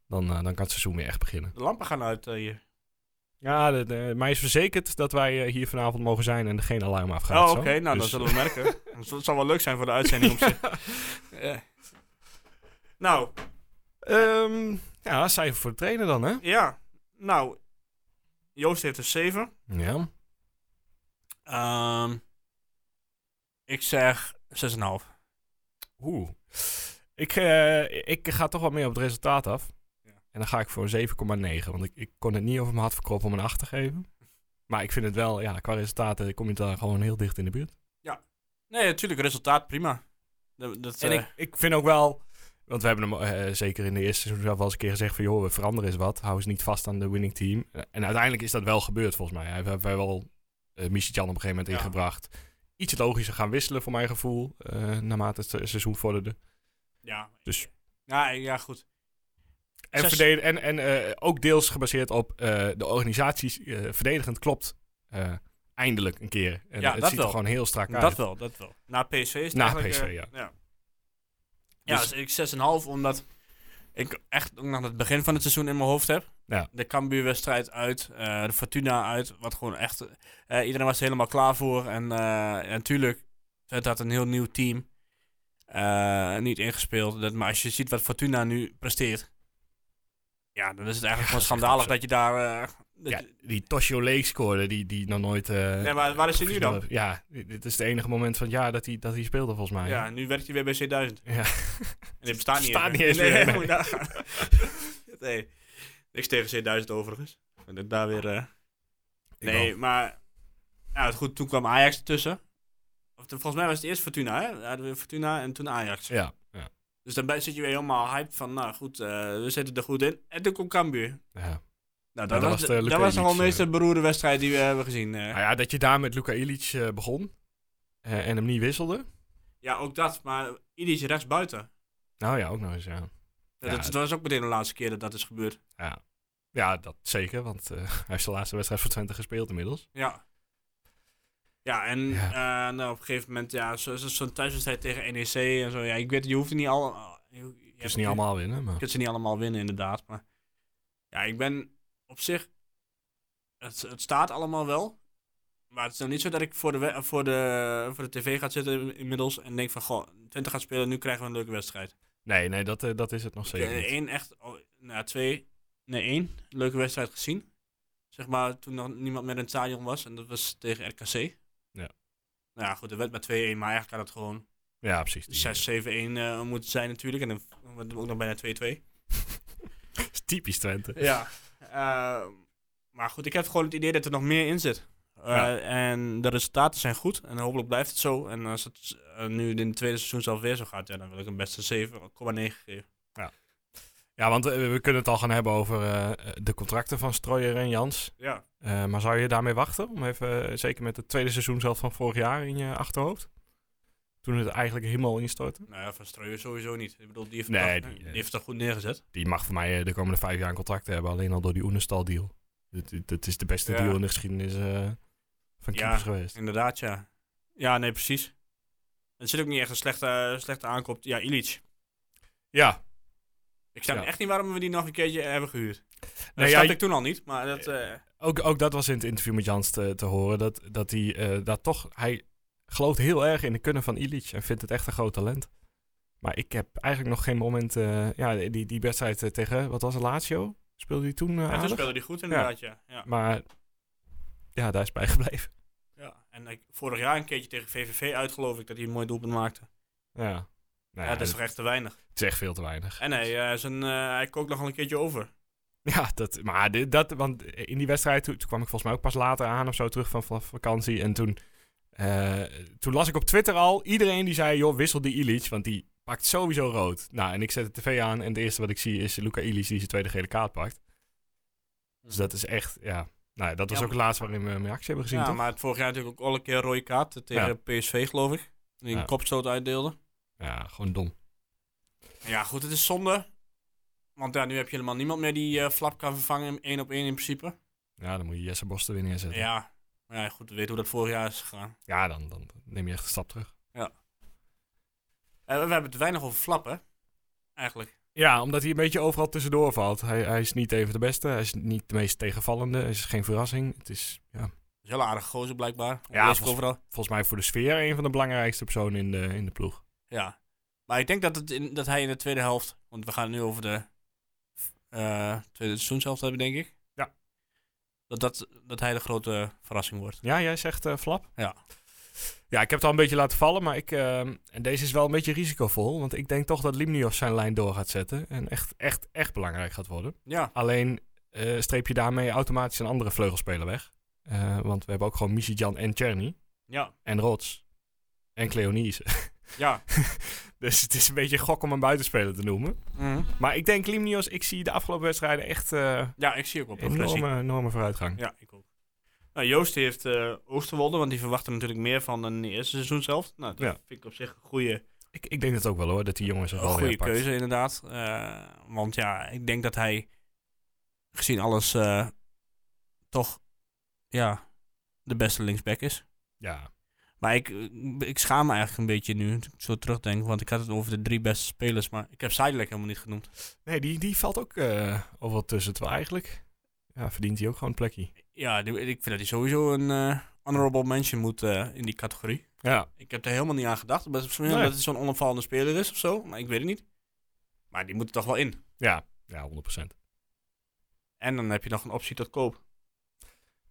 S1: dan, eh, dan kan het seizoen weer echt beginnen.
S4: De lampen gaan uit eh, hier.
S1: Ja, de, de- mij is verzekerd dat wij eh, hier vanavond mogen zijn en er geen alarm afgaat.
S4: Oh,
S1: zo.
S4: oké. Nou,
S1: Dus,
S4: dat zullen we merken. Het zal- het zal wel leuk zijn voor de uitzending op zich. Ja. Nou,
S1: ehm, ja, cijfer voor de trainer dan, hè?
S4: ja. Nou, Joost heeft een 7.
S1: Ja.
S4: Ehm, ik zeg 6,5.
S1: Oeh. Ik, eh, ik ga toch wel meer op het resultaat af.
S4: Ja.
S1: En dan ga ik voor een 7,9. Want ik, ik kon het niet over mijn hart verkroppen om een 8 te geven. Maar ik vind het wel, ja, qua resultaten kom je daar gewoon heel dicht in de buurt.
S4: Nee, natuurlijk, resultaat prima. Dat, dat,
S1: en
S4: eh,
S1: ik, ik vind ook wel, want we hebben hem eh, zeker in de eerste seizoen zelf wel eens een keer gezegd van... joh, we veranderen eens wat. Hou eens niet vast aan de winning team. Eh, En uiteindelijk is dat wel gebeurd volgens mij. Hij hebben wij wel uh, Michitjan op een gegeven moment
S4: Ja.
S1: ingebracht. Iets logischer gaan wisselen voor mijn gevoel, eh, naarmate het se- seizoen vorderde.
S4: ja,
S1: dus-
S4: Ja, ja, goed.
S1: En,
S4: Zes-
S1: verdedig- en, en eh, ook deels gebaseerd op eh, de organisaties. eh, verdedigend klopt eh, eindelijk een keer. En
S4: Ja,
S1: het
S4: dat
S1: ziet er
S4: wel.
S1: gewoon heel strak uit.
S4: Dat wel, dat wel. Na PSV is het
S1: Na
S4: eigenlijk,
S1: PSV,
S4: eh,
S1: ja.
S4: Ja, ja
S1: Dus-
S4: dus ik 6,5 omdat ik echt ook nog het begin van het seizoen in mijn hoofd heb.
S1: Ja.
S4: De Cambuurwedstrijd uit, eh, de Fortuna uit, wat gewoon echt... eh, iedereen was er helemaal klaar voor en eh, en natuurlijk, het had een heel nieuw team. eh, niet ingespeeld, dat, maar als je ziet wat Fortuna nu presteert... Ja, dan is het eigenlijk
S1: dat
S4: gewoon
S1: is echt
S4: schandalig
S1: absurd.
S4: dat je daar... eh, dat
S1: Ja,
S4: je-
S1: die Toshio Leek scoorde, die, die nog nooit... eh,
S4: Nee, maar waar is hij nu dan?
S1: Ja, dit dit is het enige moment van het jaar dat hij, dat hij speelde volgens mij.
S4: Ja, nu werkt hij weer bij C1000.
S1: Ja.
S4: En die bestaat niet
S1: Bestaat
S4: eens
S1: niet eens
S4: Nee,
S1: meer,
S4: nee,
S1: nee.
S4: moet je nagaan. nee. Niks tegen C1000 overigens. En dat daar weer... eh,
S1: Ik
S4: Nee,
S1: wel.
S4: maar... Ja, goed, toen kwam Ajax ertussen. Of, toen- volgens mij was het eerst Fortuna, hè? We hadden we Fortuna en toen Ajax.
S1: Ja, ja,
S4: Dus daarbij zit je weer helemaal hyped van, nou goed, eh, we zitten er goed in. En toen kwam Cambuur.
S1: ja.
S4: Nou, dat,
S1: dat was
S4: was,
S1: de
S4: de-
S1: Luca
S4: dat was nog wel
S1: Illich,
S4: de meest beroerde wedstrijd die we hebben gezien. eh.
S1: Nou ja, dat je daar met Luka Ilic eh, begon eh, en hem niet wisselde.
S4: Ja, ook dat, maar Idisch rechts buiten.
S1: Nou ja, ook nog eens, ja. Ja,
S4: dat, dat was ook meteen de laatste keer dat dat is gebeurd.
S1: Ja, ja dat zeker, want eh, hij heeft zijn laatste wedstrijd voor Twente gespeeld inmiddels.
S4: Ja. Ja, en
S1: Ja.
S4: eh, nou, op een gegeven moment, ja, zo- zo- zo'n thuiswedstrijd tegen NEC en zo. Ja, ik weet, je hoeft het niet al. je- je hebt-
S1: Dus niet allemaal winnen,
S4: Je
S1: maar...
S4: kunt ze niet allemaal winnen, inderdaad. Maar ja, ik ben op zich het, het staat allemaal wel. Maar het is nog niet zo dat ik voor de, we- voor de, voor de tv ga zitten inmiddels en denk van, goh, Twente gaat spelen, nu krijgen we een leuke wedstrijd.
S1: Nee, nee, dat, eh, dat is het nog zeker
S4: Eh,
S1: niet.
S4: Eén echt, oh, nou twee, nee één leuke wedstrijd gezien. Zeg maar toen nog niemand meer in het stadion was en dat was tegen RKC.
S1: Ja.
S4: Nou ja, goed, er werd met 2-1, maar eigenlijk had het gewoon
S1: Ja, precies. Die-
S4: 6-7-1 eh, moeten zijn natuurlijk. En dan wordt het ook nog bijna 2-2.
S1: Typisch Twente.
S4: Ja. Eh, maar goed, ik heb gewoon het idee dat er nog meer in zit. Eh,
S1: Ja.
S4: En de resultaten zijn goed. En hopelijk blijft het zo. En als het eh, nu in het tweede seizoen zelf weer zo gaat, ja, dan wil ik een beste 7,9 geven.
S1: Ja, want eh, we kunnen het al gaan hebben over eh, de contracten van Strooier en Jans.
S4: Ja.
S1: Eh, maar zou je daarmee wachten? Om even, eh, zeker met het tweede seizoen zelf van vorig jaar in je achterhoofd? Toen het eigenlijk helemaal instortte.
S4: Nou ja, van Streuer sowieso niet. Ik bedoel, die heeft,
S1: Nee,
S4: het toch-
S1: die, eh,
S4: die heeft het toch goed neergezet.
S1: Die mag voor mij eh, de komende vijf jaar een contract hebben. Alleen al door die Oenestal deal. Dat, dat- dat is de beste
S4: Ja.
S1: deal in de geschiedenis eh, van
S4: Ja.
S1: keepers geweest.
S4: Inderdaad, ja. Ja, nee, precies. Er zit ook niet echt een slechte, slechte aankoop. Ja, Illich.
S1: Ja,
S4: Ik snap
S1: Ja.
S4: echt niet waarom we die nog een keertje hebben gehuurd. Dat
S1: Nee,
S4: snapte
S1: ja,
S4: ik toen al niet, maar dat... eh,
S1: ook, ook dat was in het interview met Jans te, te horen. Dat, dat hij eh, daar toch... Hij gelooft heel erg in de kunnen van Illich. En vindt het echt een groot talent. Maar ik heb eigenlijk nog geen moment... eh, ja, die, die wedstrijd eh, tegen... Wat was het? Lazio? Speelde hij toen eh,
S4: ja, toen
S1: aardig?
S4: speelde die goed, inderdaad, ja. ja.
S1: Maar ja, daar is bij gebleven.
S4: Ja, en ik, vorig jaar een keertje tegen VVV uit, geloof ik, dat hij een mooi doelpunt maakte.
S1: Ja. Nou ja,
S4: ja, dat is toch echt te weinig.
S1: het is echt veel te weinig.
S4: En hij, eh, is een, eh, hij kookt nog wel een keertje over.
S1: Ja, dat, maar dit- dat, want in die wedstrijd, toen, toen kwam ik volgens mij ook pas later aan of zo terug van van vakantie. En toen, eh, toen las ik op Twitter al, iedereen die zei, joh, wissel die Illich, want die pakt sowieso rood. Nou, en ik zet de tv aan en het eerste wat ik zie is Luca Illich die zijn tweede gele kaart pakt. Dus dat is echt, ja. Nou, ja, dat was
S4: Ja,
S1: ook het laatste waarin we mijn actie hebben gezien,
S4: ja,
S1: toch?
S4: maar het vorig jaar natuurlijk ook al een keer een rode kaart eh, tegen PSV, geloof ik. Die een
S1: Ja.
S4: kopstoot uitdeelde.
S1: Ja, gewoon dom.
S4: Ja, goed, het is zonde. Want ja, nu heb je helemaal niemand meer die eh, Flap kan vervangen, één op één in principe.
S1: Ja, dan moet je Jesse Bos er weer neerzetten. Ja,
S4: Ja, maar ja goed, we weten hoe dat vorig jaar is gegaan.
S1: dan, dan neem je echt een stap terug.
S4: Eh, we hebben het weinig over Flap, hè? Eigenlijk.
S1: Ja, omdat hij een beetje overal tussendoor valt. Hij, hij is niet even de beste, hij is niet de meest tegenvallende, hij is geen verrassing. Het is, ja,
S4: Dat is een heel aardige gozer, blijkbaar.
S1: Ja,
S4: Onrustig
S1: volgens-
S4: overal.
S1: volgens mij voor de sfeer een van de belangrijkste personen in de, in de ploeg.
S4: Ja. Maar ik denk dat, het in, dat hij in de tweede helft. Want we gaan nu over de eh, tweede seizoenshelft hebben, denk ik.
S1: Ja.
S4: Dat, dat, dat hij de grote verrassing wordt.
S1: Ja, jij zegt eh, Flap?
S4: Ja.
S1: Ja, ik heb het al een beetje laten vallen, maar ik, eh, en deze is wel een beetje risicovol. Want ik denk toch dat Limnios zijn lijn door gaat zetten en echt, echt, echt belangrijk gaat worden.
S4: Ja.
S1: Alleen eh, streep je daarmee automatisch een andere vleugelspeler weg. Eh, want we hebben ook gewoon Misijan en Czerny
S4: Ja.
S1: en Rots en Cleonice.
S4: Ja.
S1: dus het is een beetje gok om een buitenspeler te noemen.
S4: Mhm.
S1: Maar ik denk Limnios, ik zie de afgelopen wedstrijden echt eh
S4: Ja, ik zie ook wel progressie.
S1: enorme, enorme vooruitgang.
S4: Ja, ik ook. Nou, Joost heeft eh Oosterwolde, want die verwacht er natuurlijk meer van dan in de eerste seizoenshelft. Nou, dat
S1: Ja.
S4: vind ik op zich een goede,
S1: Ik, ik denk dat ook wel hoor, dat die jongens er
S4: een
S1: wel
S4: goede
S1: weer pakt.
S4: keuze, inderdaad. Eh, want ja, ik denk dat hij, gezien alles, eh, toch ja, de beste linksback is.
S1: Ja.
S4: Maar ik, eh, ik schaam me eigenlijk een beetje nu, toen ik zo terugdenk. Want ik had het over de drie beste spelers, maar ik heb Seidelijk helemaal niet genoemd.
S1: Nee, die, die valt ook eh, overal tussen. Terwijl eigenlijk ja, verdient hij ook gewoon een plekje.
S4: Ja, die- ik vind dat hij sowieso een eh, honorable mention moet eh, in die categorie.
S1: Ja.
S4: Ik heb er helemaal niet aan gedacht. Best misschien
S1: Nee.
S4: omdat het zo'n onopvallende speler is of zo, maar ik weet het niet. Maar die moet er toch wel in.
S1: Ja, ja 100%.
S4: En dan heb je nog een optie tot koop.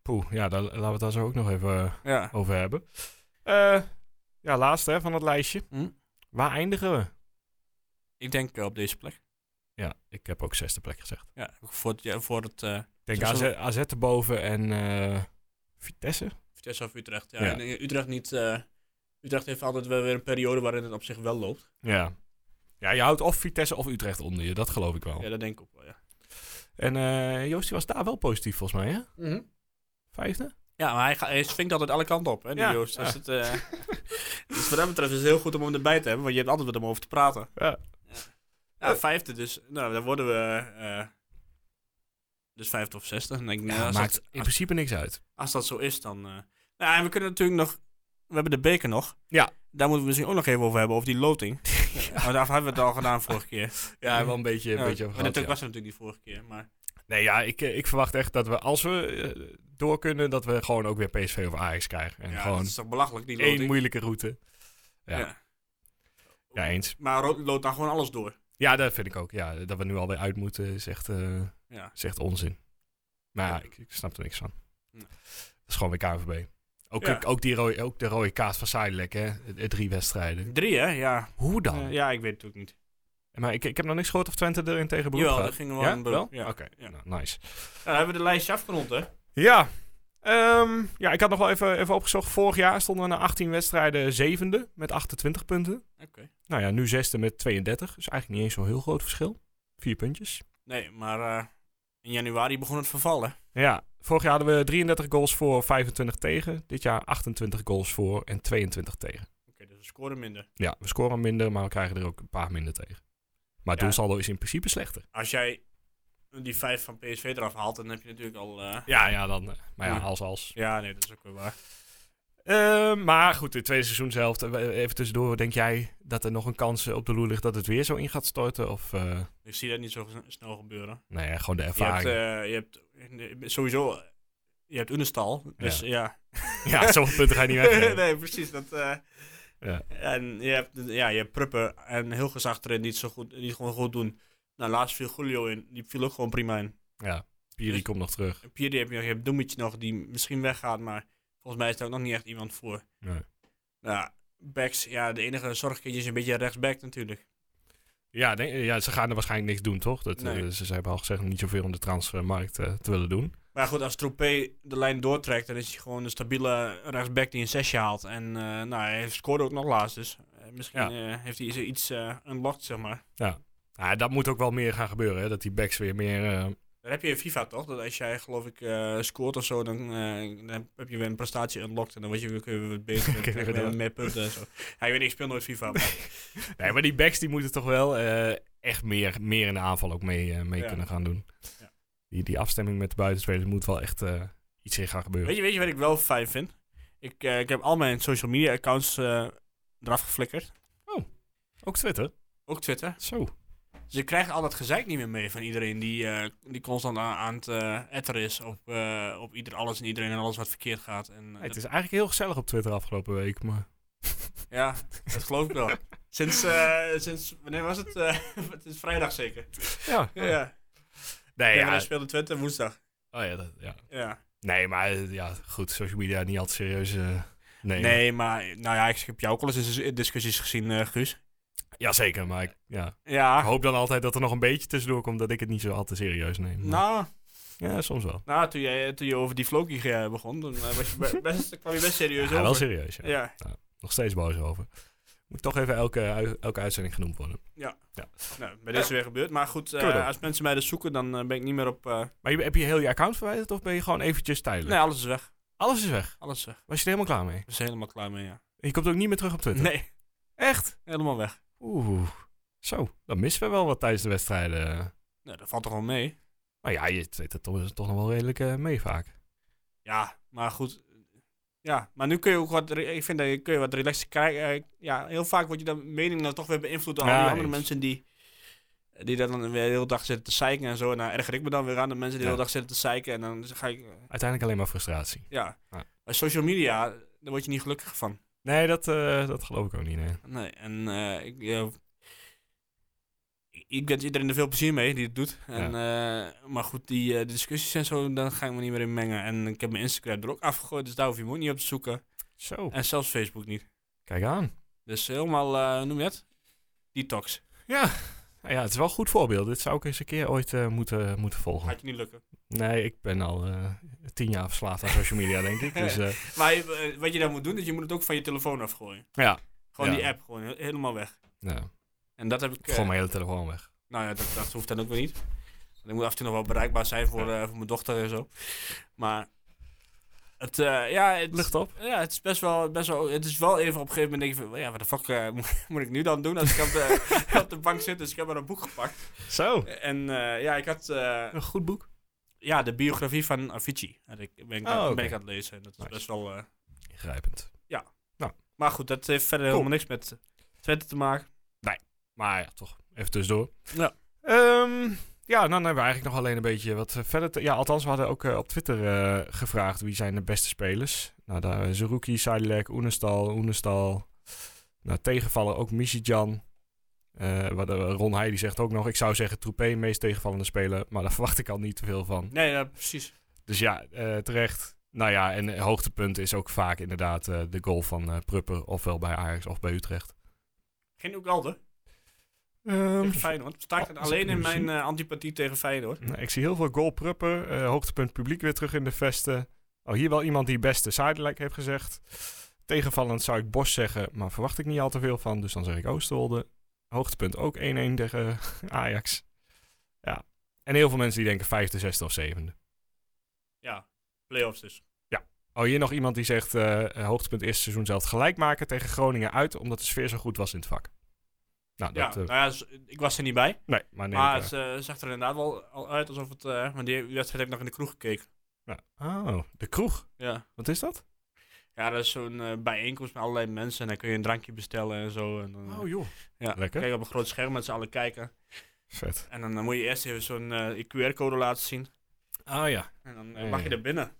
S1: Poeh, ja, daar, laten we het daar zo ook nog even eh,
S4: Ja.
S1: over hebben. Eh, ja, laatste hè, van het lijstje.
S4: Hm?
S1: Waar eindigen we?
S4: Ik denk eh, op deze plek.
S1: Ja, ik heb ook zesde plek gezegd.
S4: Ja, voor het, ja, voor het eh,
S1: Ik denk
S4: Zo-
S1: AZ,
S4: zo-
S1: AZ erboven en eh, Vitesse.
S4: Vitesse of Utrecht. Ja,
S1: Ja.
S4: ik denk Utrecht niet... eh, Utrecht heeft altijd wel weer een periode waarin het op zich wel loopt.
S1: Ja. Ja, je houdt of Vitesse of Utrecht onder je, dat geloof ik wel.
S4: Ja, dat denk ik ook wel, ja.
S1: En eh Joost die was daar wel positief volgens mij, hè? Vijfde?
S4: Ja, maar hij, ga, hij swingt altijd alle kanten op, hè, die
S1: Ja,
S4: Joost.
S1: ja.
S4: Dus, het, eh, dus wat dat betreft is het heel goed om hem erbij te hebben, want je hebt altijd met hem over te praten.
S1: Ja.
S4: Ja, vijfde dus. Nou, dan worden we... eh, dus vijfde of zesde. En ik, denk, nou, als,
S1: maakt
S4: dat,
S1: in
S4: als,
S1: principe niks uit.
S4: als dat zo is, dan... eh, nou, en we kunnen natuurlijk nog... We hebben de beker nog.
S1: Ja.
S4: Daar moeten we misschien ook nog even over hebben, over die loting. Maar daarvoor hebben we het al gedaan vorige keer.
S1: Ja, wel een beetje, een
S4: Ja,
S1: beetje
S4: maar
S1: over gehad,
S4: natuurlijk
S1: ja.
S4: was het natuurlijk die vorige keer, maar...
S1: Nee, ja, ik, eh, ik verwacht echt dat we, als we eh, door kunnen, dat we gewoon ook weer PSV of Ajax krijgen. En
S4: Ja,
S1: gewoon
S4: dat is toch belachelijk, die
S1: één
S4: loting.
S1: moeilijke route. Ja.
S4: Ja.
S1: Ja, eens.
S4: Maar ro- lood dan gewoon alles door.
S1: Ja, dat vind ik ook. Ja, dat we nu alweer uit moeten is echt, eh,
S4: Ja.
S1: is echt onzin. Maar ja, ik, ik snap er niks van.
S4: Nee.
S1: Dat is gewoon weer KNVB. Ook,
S4: Ja.
S1: ook, die rode, ook de rode kaart van Seidelijk, hè? Eh, Drie wedstrijden.
S4: Drie, hè? Ja.
S1: Hoe dan?
S4: Eh, ja, ik weet het ook niet.
S1: Maar ik, ik heb nog niks gehoord of Twente erin tegen beroep
S4: Jawel,
S1: gaat.
S4: dat ging wel
S1: ja?
S4: een beroep,
S1: Wel?
S4: ja.
S1: Oké,
S4: Ja.
S1: nou, nice.
S4: Nou, dan hebben we de lijstje afgerond, hè?
S1: Ja. Ehm, ja, ik had nog wel even, even opgezocht. Vorig jaar stonden we na 18 wedstrijden zevende met 28 punten.
S4: Oké.
S1: Nou ja, nu zesde met 32. Dus eigenlijk niet eens zo'n heel groot verschil. Vier puntjes.
S4: Nee, maar eh, in januari begon het vervallen.
S1: Ja, vorig jaar hadden we 33 goals voor, 25 tegen. Dit jaar 28 goals voor en 22 tegen.
S4: Oké, dus we scoren minder.
S1: Ja, we scoren minder, maar we krijgen er ook een paar minder tegen. Maar het
S4: Ja.
S1: doelsaldo is in principe slechter.
S4: Als jij die vijf van PSV eraf haalt, dan heb je natuurlijk al... eh,
S1: Ja, ja, dan. eh, Maar ja,
S4: Ja.
S1: als, als.
S4: Ja, nee, dat is ook weer waar.
S1: Eh, maar goed, de tweede seizoenshelft. eh, Even tussendoor, denk jij dat er nog een kans eh, op de loer ligt dat het weer zo in gaat storten? Of eh,
S4: Ik zie dat niet zo gez- snel gebeuren.
S1: nee, gewoon de
S4: Je
S1: ervaring?
S4: hebt, eh, je hebt eh, sowieso... eh, Je hebt Unestal, dus
S1: Ja.
S4: ja.
S1: Ja, zoveel punten ga je niet weggeven.
S4: nee, precies. Dat, eh,
S1: Ja.
S4: En je hebt, ja, je hebt Pruppen en Hilgers achterin die het, zo goed, die het gewoon goed doen. Nou, laatst viel Julio in. Die viel ook gewoon prima in.
S1: Ja, Piri komt nog terug.
S4: En Pierre heb je, nog, je hebt Doemitje nog, die misschien weggaat, maar volgens mij is daar ook nog niet echt iemand voor.
S1: Nee.
S4: Nou, backs, ja, de enige zorgkindje is een beetje rechtsback natuurlijk.
S1: Ja, denk- ja, ze gaan er waarschijnlijk niks doen, toch? Dat, eh,
S4: Nee.
S1: ze, ze hebben al gezegd niet zoveel om de transfermarkt eh, te willen doen.
S4: Maar goed, als Troepé de lijn doortrekt, dan is hij gewoon een stabiele rechtsback die een zesje haalt. En eh, nou, hij scoorde ook nog laatst, dus eh, misschien
S1: Ja.
S4: eh, heeft hij iets eh unlocked, zeg maar.
S1: Ah, dat moet ook wel meer gaan gebeuren, hè? dat die backs weer meer... eh,
S4: Dan heb je in FIFA toch? Dat als jij, geloof ik, eh, scoort of zo, dan, eh, dan heb je weer een prestatie unlocked. En dan word je weer, kun je weer wat beter. en
S1: Kun je
S4: krijg je
S1: weer
S4: weer
S1: door.
S4: meer punten en zo. Ja, ik weet niet, ik speel nooit FIFA. Maar,
S1: Nee, maar die backs die moeten toch wel eh, echt meer, meer in de aanval ook mee, eh, mee
S4: Ja.
S1: kunnen gaan doen.
S4: Ja.
S1: Die, die afstemming met de buitenspelers moet wel echt eh, iets in gaan gebeuren.
S4: weet, je, weet je wat ik wel fijn vind? Ik, eh, ik heb al mijn social media accounts eh, eraf geflikkerd.
S1: Ook Twitter?
S4: Ook Twitter.
S1: Zo.
S4: Dus je krijgt al dat gezeik niet meer mee van iedereen die, eh, die constant aan, aan het eh etteren is. Op, eh, op ieder, alles en iedereen en alles wat verkeerd gaat. En, eh,
S1: Nee, het is eigenlijk heel gezellig op Twitter afgelopen week, maar...
S4: Ja, dat geloof ik wel. Sinds, eh, sinds, wanneer was het? Eh, het is vrijdag zeker.
S1: Ja.
S4: Ja.
S1: Nee,
S4: Ja, dus-
S1: ja.
S4: maar dan speelde Twente woensdag.
S1: Oh, ja, dat- ja.
S4: Ja.
S1: Nee, maar eh, ja, goed, social media niet altijd serieus eh,
S4: Nee,
S1: nemen.
S4: maar nou ja, ik heb jou ook al eens in discussies gezien, eh, Guus.
S1: Jazeker, maar ik, ja. ik
S4: Ja,
S1: hoop dan altijd dat er nog een beetje tussendoor komt dat ik het niet zo altijd serieus neem. Maar-
S4: nou,
S1: Ja, soms wel.
S4: nou toen, jij, toen je over die Floki eh, begon, dan eh, was je be- best, kwam je best serieus
S1: Ja, wel
S4: over.
S1: serieus, ja.
S4: Ja,
S1: Nog steeds boos over. Moet toch even elke, ui- elke uitzending genoemd worden.
S4: nou, bij deze weer gebeurd. Maar goed, eh,
S1: Kunnen we doen.
S4: als mensen mij dus zoeken, dan eh, ben ik niet meer op... eh,
S1: Maar je, heb je heel je account verwijderd of ben je gewoon eventjes tijdelijk?
S4: nee, alles is weg.
S1: Alles is weg.
S4: Alles is weg.
S1: Was je er helemaal klaar mee?
S4: We zijn helemaal klaar mee, ja.
S1: Je komt ook niet meer terug op Twitter?
S4: Nee,
S1: Echt?
S4: helemaal weg.
S1: Oeh. Zo, dan missen we wel wat tijdens de wedstrijden.
S4: Nou, dat valt toch wel mee?
S1: Maar ja, je twittert toch, toch nog wel redelijk eh, mee vaak.
S4: Ja, maar goed. Ja, maar nu kun je ook wat... re- Ik vind dat je kun je wat relaxed krijgen. Eh, ja, heel vaak wordt je dan mening dan toch weer beïnvloed door al
S1: Ja,
S4: die andere
S1: eens.
S4: mensen die... Die dan weer de hele dag zitten te zeiken en zo. En dan erger ik me dan weer aan de mensen die
S1: Ja.
S4: de hele dag zitten te zeiken. En dan ga ik... eh,
S1: Uiteindelijk alleen maar frustratie.
S4: Ja.
S1: Ja.
S4: Bij social media, daar word je niet gelukkig van.
S1: Nee, dat, eh, dat geloof ik ook niet, nee.
S4: Nee, en eh, ik... eh, ik- ik wens iedereen er veel plezier mee die het doet. En, eh, maar goed, die eh, discussies en zo, daar ga ik me niet meer in mengen. En ik heb mijn Instagram er ook afgegooid, dus daar hoef je me ook niet op te zoeken.
S1: Zo,
S4: En zelfs Facebook niet.
S1: kijk aan.
S4: Dus helemaal, eh, hoe noem je het? Detox.
S1: Ja. Nou ja, het is wel een goed voorbeeld. Dit zou ik eens een keer ooit eh, moeten, moeten volgen.
S4: Gaat je niet lukken.
S1: Nee, ik ben al eh, tien jaar verslaafd aan social media, denk ik. Dus eh,
S4: Maar je- eh, wat je dan moet doen, is je moet het ook van je telefoon afgooien.
S1: ja,
S4: Gewoon
S1: Ja.
S4: die app, gewoon he- helemaal weg.
S1: nou,
S4: En dat heb ik... eh,
S1: gewoon mijn hele telefoon weg.
S4: nou ja, dat, dat hoeft dan ook weer niet. Want ik moet af en toe nog wel bereikbaar zijn voor, eh, voor mijn dochter en zo. Maar het, eh, ja, het,
S1: Lucht op.
S4: ja, het is best wel, best wel... Het is wel even op een gegeven moment denk je van... Ja, wat de fuck eh, moet- moet ik nu dan doen als ik op de, op de bank zit? Dus ik heb maar een boek gepakt.
S1: Zo.
S4: En eh, ja, ik had... eh,
S1: Een goed boek.
S4: Ja, de biografie van Avicii. En ik ben, ik
S1: Oh,
S4: aan-
S1: oké.
S4: ben ik aan het lezen. En dat is
S1: Nice.
S4: best wel. eh,
S1: Ingrijpend.
S4: maar goed, dat heeft verder
S1: Cool.
S4: helemaal niks met Twente te maken.
S1: Maar ja, toch, even tussendoor.
S4: Ja.
S1: Ehm, Ja, dan hebben we eigenlijk nog alleen een beetje wat eh, verder. te- ja, althans, we hadden ook eh, op Twitter eh, gevraagd wie zijn de beste spelers. Nou, daar eh, Zerouki, Sadilek, Oenestal, Oenestal. Nou, tegenvallen ook Michijan. Eh wat, eh, Ron Heij die zegt ook nog, ik zou zeggen Troepé, meest tegenvallende speler. Maar daar verwacht ik al niet te veel van.
S4: Nee, eh, ja, precies.
S1: Dus ja, eh, terecht. Nou ja, en eh, hoogtepunt is ook vaak inderdaad eh, de goal van eh, Prupper. Ofwel bij Ajax of bij Utrecht.
S4: Geen Ugalde.
S1: Ehm,
S4: Tegen Feyenoord. Staat
S1: als
S4: het
S1: ik
S4: alleen in
S1: hem
S4: mijn
S1: zie.
S4: eh, antipathie tegen Feyenoord.
S1: Nou, ik zie heel veel goal pruppen. eh, hoogtepunt publiek weer terug in de vesten. Oh, hier wel iemand die beste sidelike heeft gezegd. Tegenvallend zou ik Bos zeggen, maar verwacht ik niet al te veel van. Dus dan zeg ik Oosterwolde. Hoogtepunt ook 1-1 tegen Ajax. Ja. En heel veel mensen die denken vijfde, zesde of zevende.
S4: Ja, playoffs dus.
S1: Oh, hier nog iemand die zegt eh, hoogtepunt eerste seizoen zelf gelijk maken tegen Groningen uit, omdat de sfeer zo goed was in het vak. Nou,
S4: Ja,
S1: dat, eh,
S4: nou ja, z- ik was er niet bij.
S1: nee, maar nee.
S4: maar het eh, zag er inderdaad wel al uit alsof het... eh want die wedstrijd heb ik nog in de kroeg gekeken.
S1: Oh, de kroeg.
S4: Ja.
S1: Wat is dat?
S4: Ja, dat is zo'n eh, bijeenkomst met allerlei mensen. En dan kun je een drankje bestellen en zo. En dan, eh,
S1: Oh joh,
S4: ja.
S1: lekker.
S4: Kijk op een groot scherm met z'n allen kijken.
S1: vet.
S4: En dan, eh, moet je eerst even zo'n eh, QR-code laten zien.
S1: Ah ja,
S4: En dan eh,
S1: Ja,
S4: mag je
S1: ja.
S4: er binnen.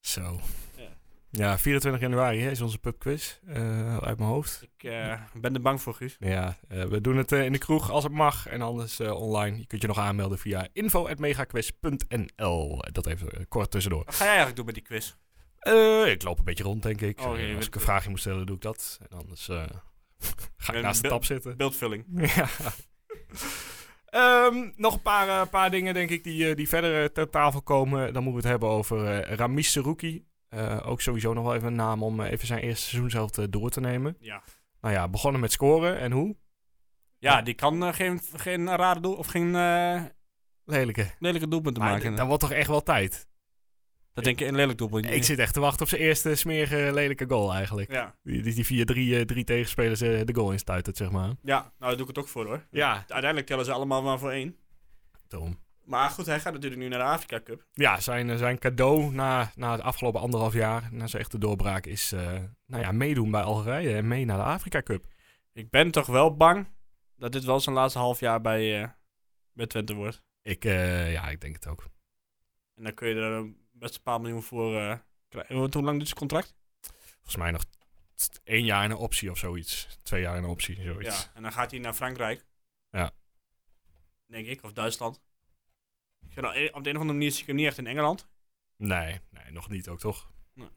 S1: Zo.
S4: Ja.
S1: Ja, 24 januari hè, is onze pubquiz. eh, uit mijn hoofd.
S4: Ik eh, ben er bang voor, Guus.
S1: Nou Ja, eh, we doen het eh, in de kroeg als het mag. En anders eh, online. Je kunt je nog aanmelden via info.megaquiz.nl. Dat even eh, kort tussendoor.
S4: Wat ga jij eigenlijk doen met die quiz?
S1: Eh, ik loop een beetje rond, denk ik.
S4: Oh,
S1: Eh,
S4: je
S1: als
S4: bent-
S1: ik een vraagje moet stellen, doe ik dat. En anders eh, ga ik
S4: bent
S1: naast de
S4: be-
S1: tap zitten.
S4: Beeldvulling.
S1: Ja. Ehm, nog een paar, eh, paar dingen, denk ik, die, eh, die verder eh, ter tafel komen. Dan moeten we het hebben over eh Ramis Serouki. Eh, ook sowieso nog wel even een naam om eh, even zijn eerste seizoen zelf eh, door te nemen.
S4: Ja.
S1: Nou ja, begonnen met scoren. En hoe?
S4: Ja, die kan eh, geen, geen rare doel of geen eh
S1: Lelijke.
S4: lelijke doelpunten
S1: Maar
S4: maken.
S1: d- dat wordt toch echt wel tijd?
S4: dat denk ik een lelijk doelpunt.
S1: Ik zit echt te wachten op zijn eerste smerige, lelijke goal eigenlijk.
S4: Ja.
S1: Die, die, die via drie, eh, drie tegenspelers eh, de goal instuitert, zeg maar.
S4: ja, nou daar doe ik het ook voor hoor.
S1: Ja,
S4: Uiteindelijk tellen ze allemaal maar voor één.
S1: Tom.
S4: Maar goed, hij gaat natuurlijk nu naar de Afrika Cup.
S1: Ja, zijn, eh, zijn cadeau na, na het afgelopen anderhalf jaar, na zijn echte doorbraak, is eh, nou ja, meedoen bij Algerije en mee naar de Afrika Cup.
S4: Ik ben toch wel bang dat dit wel zijn laatste half jaar bij, eh, bij Twente wordt.
S1: Ik, eh, ja, ik denk het ook.
S4: En dan kun je er eh, best een paar miljoen voor eh, krijgen. Want Hoe lang duurt zijn contract?
S1: Volgens mij nog t- één jaar in een optie of zoiets. Twee jaar in een optie, zoiets.
S4: Ja, en dan gaat hij naar Frankrijk.
S1: Ja.
S4: Denk ik, of Duitsland. Ik vind al- op de een of andere manier zie ik hem niet echt in Engeland.
S1: Nee, nee, nog niet ook, toch?
S4: Nee.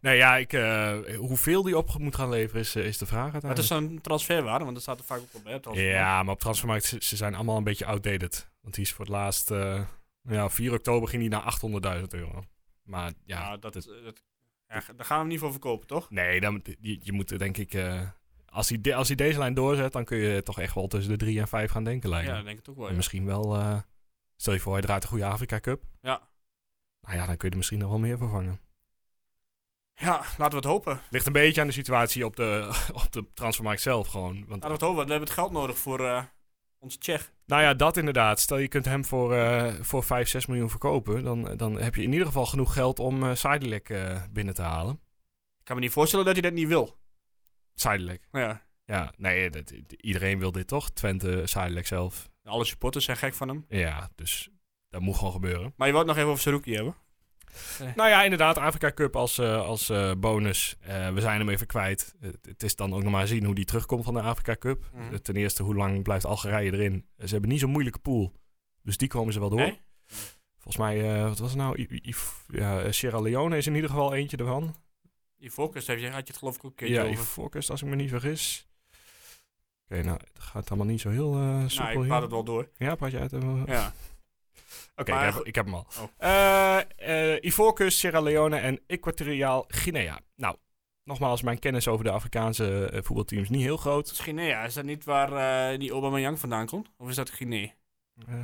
S1: Nou ja, ik, eh, hoeveel die op moet gaan leveren is, eh, is de vraag
S4: Maar het is
S1: uiteindelijk.
S4: dan transferwaarde, want dat staat er vaak ook op bij. op transfermarkt.
S1: Ja, maar op Transfermarkt, ze, ze zijn allemaal een beetje outdated. Want die is voor het laatst, eh, ja, 4 oktober ging die naar 800.000 euro. Maar ja,
S4: Nou, dat, eh, dat, ja, ga- daar gaan we hem niet voor verkopen, toch?
S1: Nee, dan, je, je moet er denk ik... eh, als, hij de- als hij deze lijn doorzet, dan kun je toch echt wel tussen de drie en vijf gaan denken, lijkt
S4: Ja,
S1: me.
S4: dat denk ik ook wel.
S1: En
S4: ja.
S1: misschien wel... eh, stel je voor, hij draait de goede Afrika Cup.
S4: Ja.
S1: Nou ja, dan kun je er misschien nog wel meer vervangen.
S4: Ja, laten we het hopen.
S1: Ligt een beetje aan de situatie op de, op de transfermarkt zelf gewoon. Want,
S4: Laten we het hopen, want we hebben het geld nodig voor eh onze Tsjech.
S1: nou ja, dat inderdaad. Stel je kunt hem voor, eh, voor 5, 6 miljoen verkopen. Dan, dan heb je in ieder geval genoeg geld om eh Sidelec eh, binnen te halen.
S4: Ik kan me niet voorstellen dat hij dat niet wil. Nou
S1: Sidelec.
S4: Ja.
S1: Ja, nee, dat, iedereen wil dit toch? Twente, Sidelec zelf.
S4: Alle supporters zijn gek van hem.
S1: Ja, dus dat moet gewoon gebeuren.
S4: Maar je wou het nog even over Saruki hebben.
S1: Nou ja, inderdaad, Afrika Cup als, eh, als eh, bonus. Eh, we zijn hem even kwijt. Het, het is dan ook nog maar zien hoe die terugkomt van de Afrika Cup.
S4: Mhm.
S1: Eh, Ten eerste, hoe lang blijft Algerije erin? Eh, ze hebben niet zo'n moeilijke pool. Dus die komen ze wel door.
S4: Nee?
S1: Volgens mij, eh, wat was het nou? I- I- I- ja, eh, Sierra Leone is in ieder geval eentje ervan.
S4: Die focus had je had je het geloof ik ook een keertje
S1: Ja,
S4: over.
S1: Ivorcus, als ik me niet vergis. Oké, nou, het gaat allemaal niet zo heel eh soepel
S4: nou, ik
S1: hier.
S4: praat het wel door.
S1: Ja, praat je uit. eh,
S4: Ja.
S1: Oké,
S4: Maar
S1: ik, heb-
S4: goed.
S1: ik heb hem al.
S4: Oh.
S1: Eh, eh, Ivoorkust, Sierra Leone en Equatoriaal Guinea. Nou, nogmaals, mijn kennis over de Afrikaanse eh, voetbalteams niet heel groot.
S4: Dat is Guinea. Is dat niet waar eh die Aubameyang vandaan komt? Of is dat Guinea?
S1: Eh,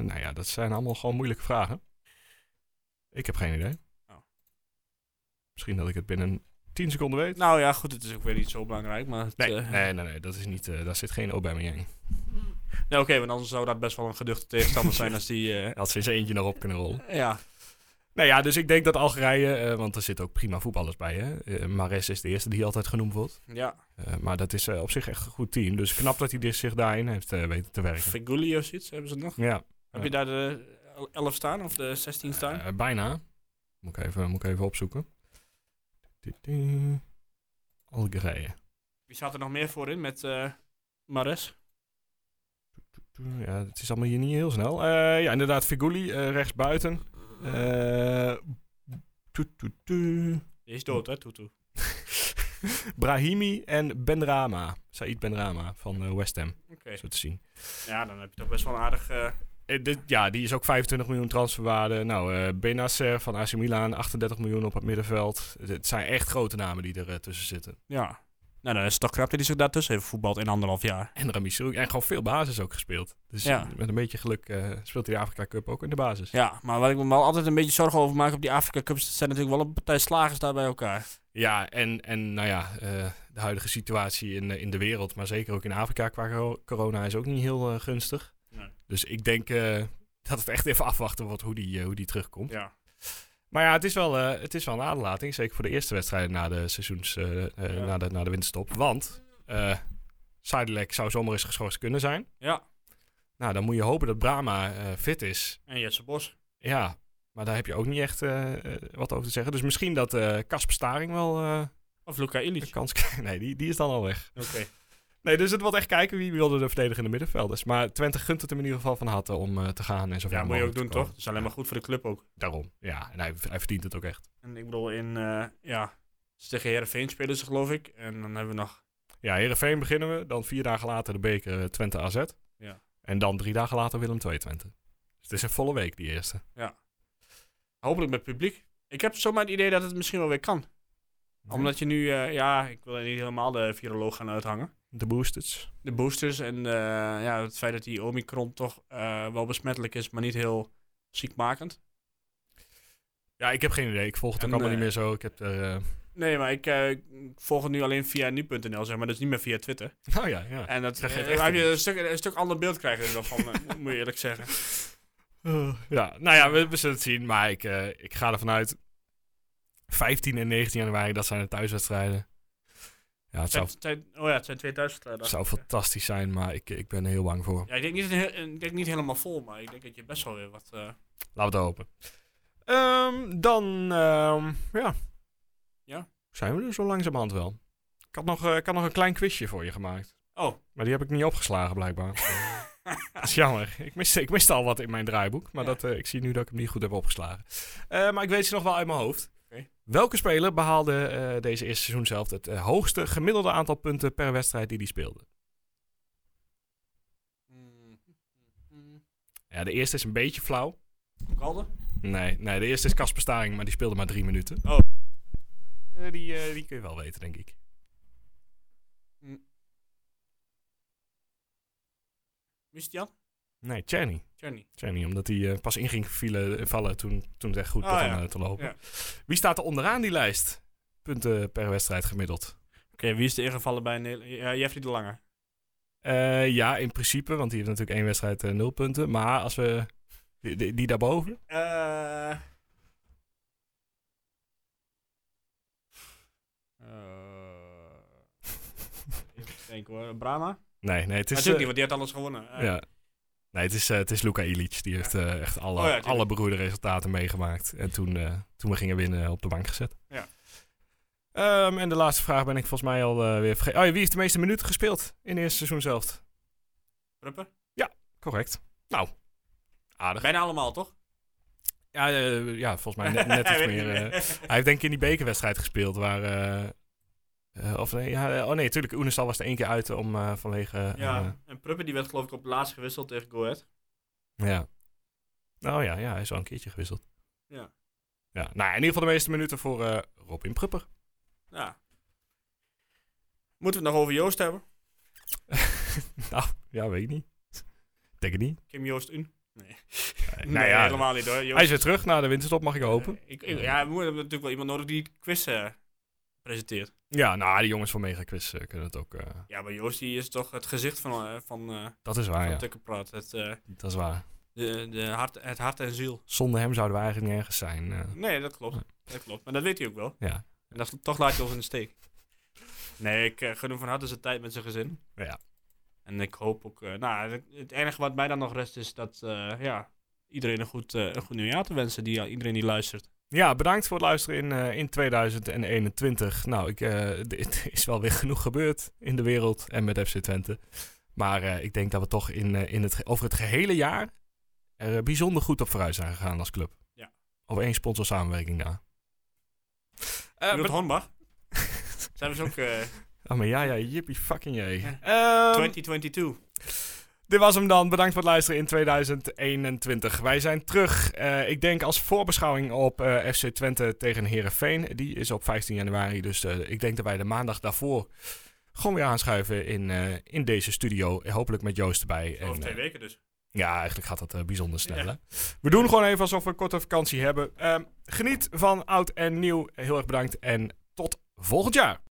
S1: nou ja, dat zijn allemaal gewoon moeilijke vragen. Ik heb geen idee.
S4: Oh.
S1: Misschien dat ik het binnen 10 seconden weet.
S4: Nou ja, goed, het is ook weer niet zo belangrijk, maar... het,
S1: Nee,
S4: eh,
S1: nee, nee, nee, dat is niet, eh, daar zit geen Aubameyang. in.
S4: Nee, oké, want anders zou dat best wel een geduchte tegenstander zijn als die... eh,
S1: Had ze eens eentje nog op kunnen rollen.
S4: ja.
S1: Nou ja, dus ik denk dat Algerije, eh, want er zitten ook prima voetballers bij. Hè? Eh, Mares is de eerste die altijd genoemd wordt.
S4: Ja,
S1: Eh, maar dat is eh, op zich echt een goed team. Dus knap dat hij dit zich daarin heeft eh, weten te werken.
S4: Figuli of zoiets hebben ze nog.
S1: Ja,
S4: Heb je daar de 11 staan of de 16 staan?
S1: eh, bijna. Moet ik even, moet ik even opzoeken. Algerije.
S4: Wie staat er nog meer voor in met eh Mares?
S1: Ja, het is allemaal hier niet heel snel. Eh, ja, inderdaad, Figuli eh rechts buiten. Eh,
S4: Die is dood, hè, Tutu.
S1: Brahimi en Benrama. Said Benrama van eh, West Ham,
S4: Oké.
S1: zo te zien.
S4: Ja, dan heb je toch best wel een aardig... eh,
S1: Eh, dit- ja, die is ook 25 miljoen transferwaarde. Nou, eh Benacer van AC Milan, 38 miljoen op het middenveld. Het- Het zijn echt grote namen die er eh, tussen zitten.
S4: ja. Nou, dan is het toch knap dat hij zich daartussen heeft voetbald in anderhalf jaar.
S1: En Ramisou, en gewoon veel basis ook gespeeld. Dus
S4: Ja.
S1: eh, met een beetje geluk eh, speelt hij de Afrika Cup ook in de basis.
S4: Ja, maar waar ik me wel altijd een beetje zorgen over maak op die Afrika Cups, dat zijn natuurlijk wel een partij slagers daar bij elkaar.
S1: Ja, en, en nou ja, eh, de huidige situatie in, eh, in de wereld, maar zeker ook in Afrika qua coro- corona, is ook niet heel eh, gunstig.
S4: Nee.
S1: Dus ik denk eh, dat het echt even afwachten wordt hoe die, eh, hoe die terugkomt.
S4: Ja.
S1: Maar ja, het is, wel, eh, het is wel een aderlating, zeker voor de eerste wedstrijd na de, seizoens, eh, eh,
S4: Ja.
S1: na de, na de winterstop. Want eh Sidelec zou zomaar eens geschorst kunnen zijn.
S4: Ja.
S1: Nou, dan moet je hopen dat Brahma eh, fit is.
S4: En Jesse Bos.
S1: Ja, maar daar heb je ook niet echt eh, eh, wat over te zeggen. Dus misschien dat eh, Casper Staring wel eh,
S4: Of Luca
S1: een
S4: Illich.
S1: kans krijgt. Nee, die, die is dan al weg.
S4: Oké.
S1: Nee, dus het wordt echt kijken wie wilde de verdedigende middenvelders. Maar Twente gunt het hem in ieder geval van harte om eh, te gaan en zo
S4: Ja,
S1: ver
S4: moet je ook doen,
S1: mogelijk
S4: toch?
S1: te
S4: Dat is alleen maar goed voor de club ook.
S1: komen. Daarom, ja. En hij, hij verdient het ook echt.
S4: En ik bedoel, in, eh ja, ze tegen Heerenveen spelen ze geloof ik. En dan hebben we nog...
S1: Ja, Heerenveen beginnen we. Dan vier dagen later de beker eh, Twente AZ.
S4: Ja.
S1: En dan drie dagen later Willem II Twente. Dus het is een volle week, die eerste.
S4: Hopelijk met publiek. Ik heb zomaar het idee dat het misschien wel weer kan. Omdat je nu, eh, ja, ik wil niet helemaal de viroloog gaan uithangen.
S1: De boosters.
S4: De boosters en eh, ja, het feit dat die Omicron toch eh, wel besmettelijk is, maar niet heel ziekmakend.
S1: Ja, ik heb geen idee. Ik volg het
S4: En,
S1: ook allemaal
S4: eh,
S1: niet meer zo. Ik heb er... eh,
S4: Nee, maar ik, eh, ik volg het nu alleen via nu.nl, zeg maar, dus niet meer via Twitter.
S1: Nou ja, ja.
S4: En dat
S1: Zeg je het
S4: eh,
S1: echt
S4: heb je
S1: niet?
S4: een stuk, een stuk ander beeld krijgen er dan van, eh, moet je eerlijk zeggen.
S1: ja, nou ja, we, we zullen het zien. Maar ik, eh, ik ga ervan uit. 15 en 19 januari, dat zijn de thuiswedstrijden. Ja, het
S4: Het zijn,
S1: zou,
S4: het zijn- oh ja, het zijn 2000 eh, dacht
S1: zou
S4: ik, eh.
S1: fantastisch zijn, maar ik, ik ben er heel bang voor.
S4: Ja, ik denk, niet, een heel- ik denk niet helemaal vol, maar ik denk dat je best wel weer wat... eh,
S1: Laten we het hopen. Ehm, dan, ehm, ja.
S4: Ja?
S1: Zijn we er zo langzamerhand wel. Ik had, nog, eh, ik had nog een klein quizje voor je gemaakt.
S4: Oh,
S1: Maar die heb ik niet opgeslagen, blijkbaar. dat is jammer. Ik miste, ik miste al wat in mijn draaiboek. Maar
S4: Ja.
S1: dat, eh, ik zie nu dat ik hem niet goed heb opgeslagen. Eh, maar ik weet ze nog wel uit mijn hoofd.
S4: Oké.
S1: Welke speler behaalde eh, deze eerste seizoen zelf het eh, hoogste gemiddelde aantal punten per wedstrijd die hij speelde?
S4: Hmm,
S1: Ja, de eerste is een beetje flauw.
S4: Kalde?
S1: Nee, nee de eerste is Casper Staring, maar die speelde maar drie minuten.
S4: Oh.
S1: Eh, die, eh, die kun je wel weten, denk ik.
S4: Mistian?
S1: Nee, Czerny.
S4: Johnny.
S1: Czerny, omdat hij eh, pas in ging vielen, vallen toen, toen het echt goed
S4: Ah,
S1: begon
S4: ja.
S1: eh, te lopen.
S4: Ja.
S1: Wie staat er onderaan die lijst? Punten per wedstrijd gemiddeld.
S4: Oké, wie is er ingevallen bij Nederland? Ja, Jeffrey de Lange.
S1: Eh, ja, in principe, want die heeft natuurlijk één wedstrijd eh, nul punten. Maar als we. Die, die, die daarboven?
S4: Eh. even denken Eh, hoor. Brahma?
S1: Nee, nee, het is.
S4: Het is ook
S1: eh,
S4: niet, want die had alles gewonnen. Eh,
S1: ja. Nee, het is, eh, het is Luka Ilic. Die heeft eh, echt alle,
S4: Oh ja, tuurlijk.
S1: alle beroerde resultaten meegemaakt. En toen, eh, toen we gingen winnen, op de bank gezet.
S4: Ja.
S1: Ehm, en de laatste vraag ben ik volgens mij al eh, weer vergeten. Oh ja, wie heeft de meeste minuten gespeeld in het eerste seizoen zelf?
S4: Prupper?
S1: Correct. Nou, aardig.
S4: Bijna allemaal, toch?
S1: Ja, eh, ja volgens mij net, net iets
S4: Weet ik
S1: meer.
S4: niet
S1: eh, Hij heeft denk ik in die bekerwedstrijd gespeeld waar... eh, eh, of nee, ja, oh nee, natuurlijk. Oenestal was er één keer uit om eh, vanwege... eh,
S4: ja, en Prupper die werd geloof ik op het laatst gewisseld tegen Go Ahead.
S1: eh, ja. Nou ja, ja, hij is al een keertje gewisseld.
S4: Ja.
S1: Ja, nou, in ieder geval de meeste minuten voor eh, Robin Prupper.
S4: Ja. Moeten we het nog over Joost hebben?
S1: nou, ja, weet ik niet. Ik Denk het niet.
S4: Kim Joost Un?
S1: Nee, nou ja,
S4: helemaal niet hoor. Joost-
S1: hij is weer terug naar de winterstop, mag ik hopen.
S4: Eh, ik, ik- ja, we hebben natuurlijk wel iemand nodig die quiz eh, presenteert.
S1: ja, nou, die jongens van Megaquiz eh, kunnen het ook... eh,
S4: Ja, maar Joost die is toch het gezicht van, eh, van, eh
S1: dat is waar,
S4: van
S1: Ah, ja.
S4: Tukkenpraat. Het, eh,
S1: Dat is waar.
S4: De, de hart, het hart en ziel.
S1: Zonder hem zouden we eigenlijk nergens zijn. eh.
S4: Nee, dat klopt. Dat klopt. Maar dat weet hij ook wel.
S1: ja.
S4: En dat, toch laat je ons in de steek. Nee, ik eh, gun hem van harte zijn tijd met zijn gezin.
S1: Ja.
S4: En ik hoop ook... eh, nou, het- het enige wat mij dan nog rest is dat... eh, ja, iedereen een goed, eh, een goed nieuwjaar te wensen. Die, eh, iedereen die luistert.
S1: Ja, bedankt voor het luisteren in, eh, in 2021. Nou, ik, eh, dit is wel weer genoeg gebeurd in de wereld en met FC Twente. Maar eh, ik denk dat we toch in, eh, in het, ge- over het gehele jaar er eh, bijzonder goed op vooruit zijn gegaan als club.
S4: Ja.
S1: Op één sponsor samenwerking na. Eh,
S4: Ruud
S1: bed-
S4: Hornbach. Zijn we dus ook eh,
S1: oh, maar ja, ja, jippie fucking jee. Ehm,
S4: 2022.
S1: Dit was hem dan. Bedankt voor het luisteren in 2021. Wij zijn terug. eh, ik denk als voorbeschouwing op eh, FC Twente tegen Herenveen. Die is op 15 januari. Dus eh, ik denk dat wij de maandag daarvoor gewoon weer aanschuiven in, eh, in deze studio. Hopelijk met Joost erbij. En,
S4: Over twee
S1: eh,
S4: weken dus.
S1: ja, eigenlijk gaat dat eh, bijzonder snel. hè? We doen gewoon even alsof we een korte vakantie hebben. Ehm, geniet van oud en nieuw. Heel erg bedankt en tot volgend jaar.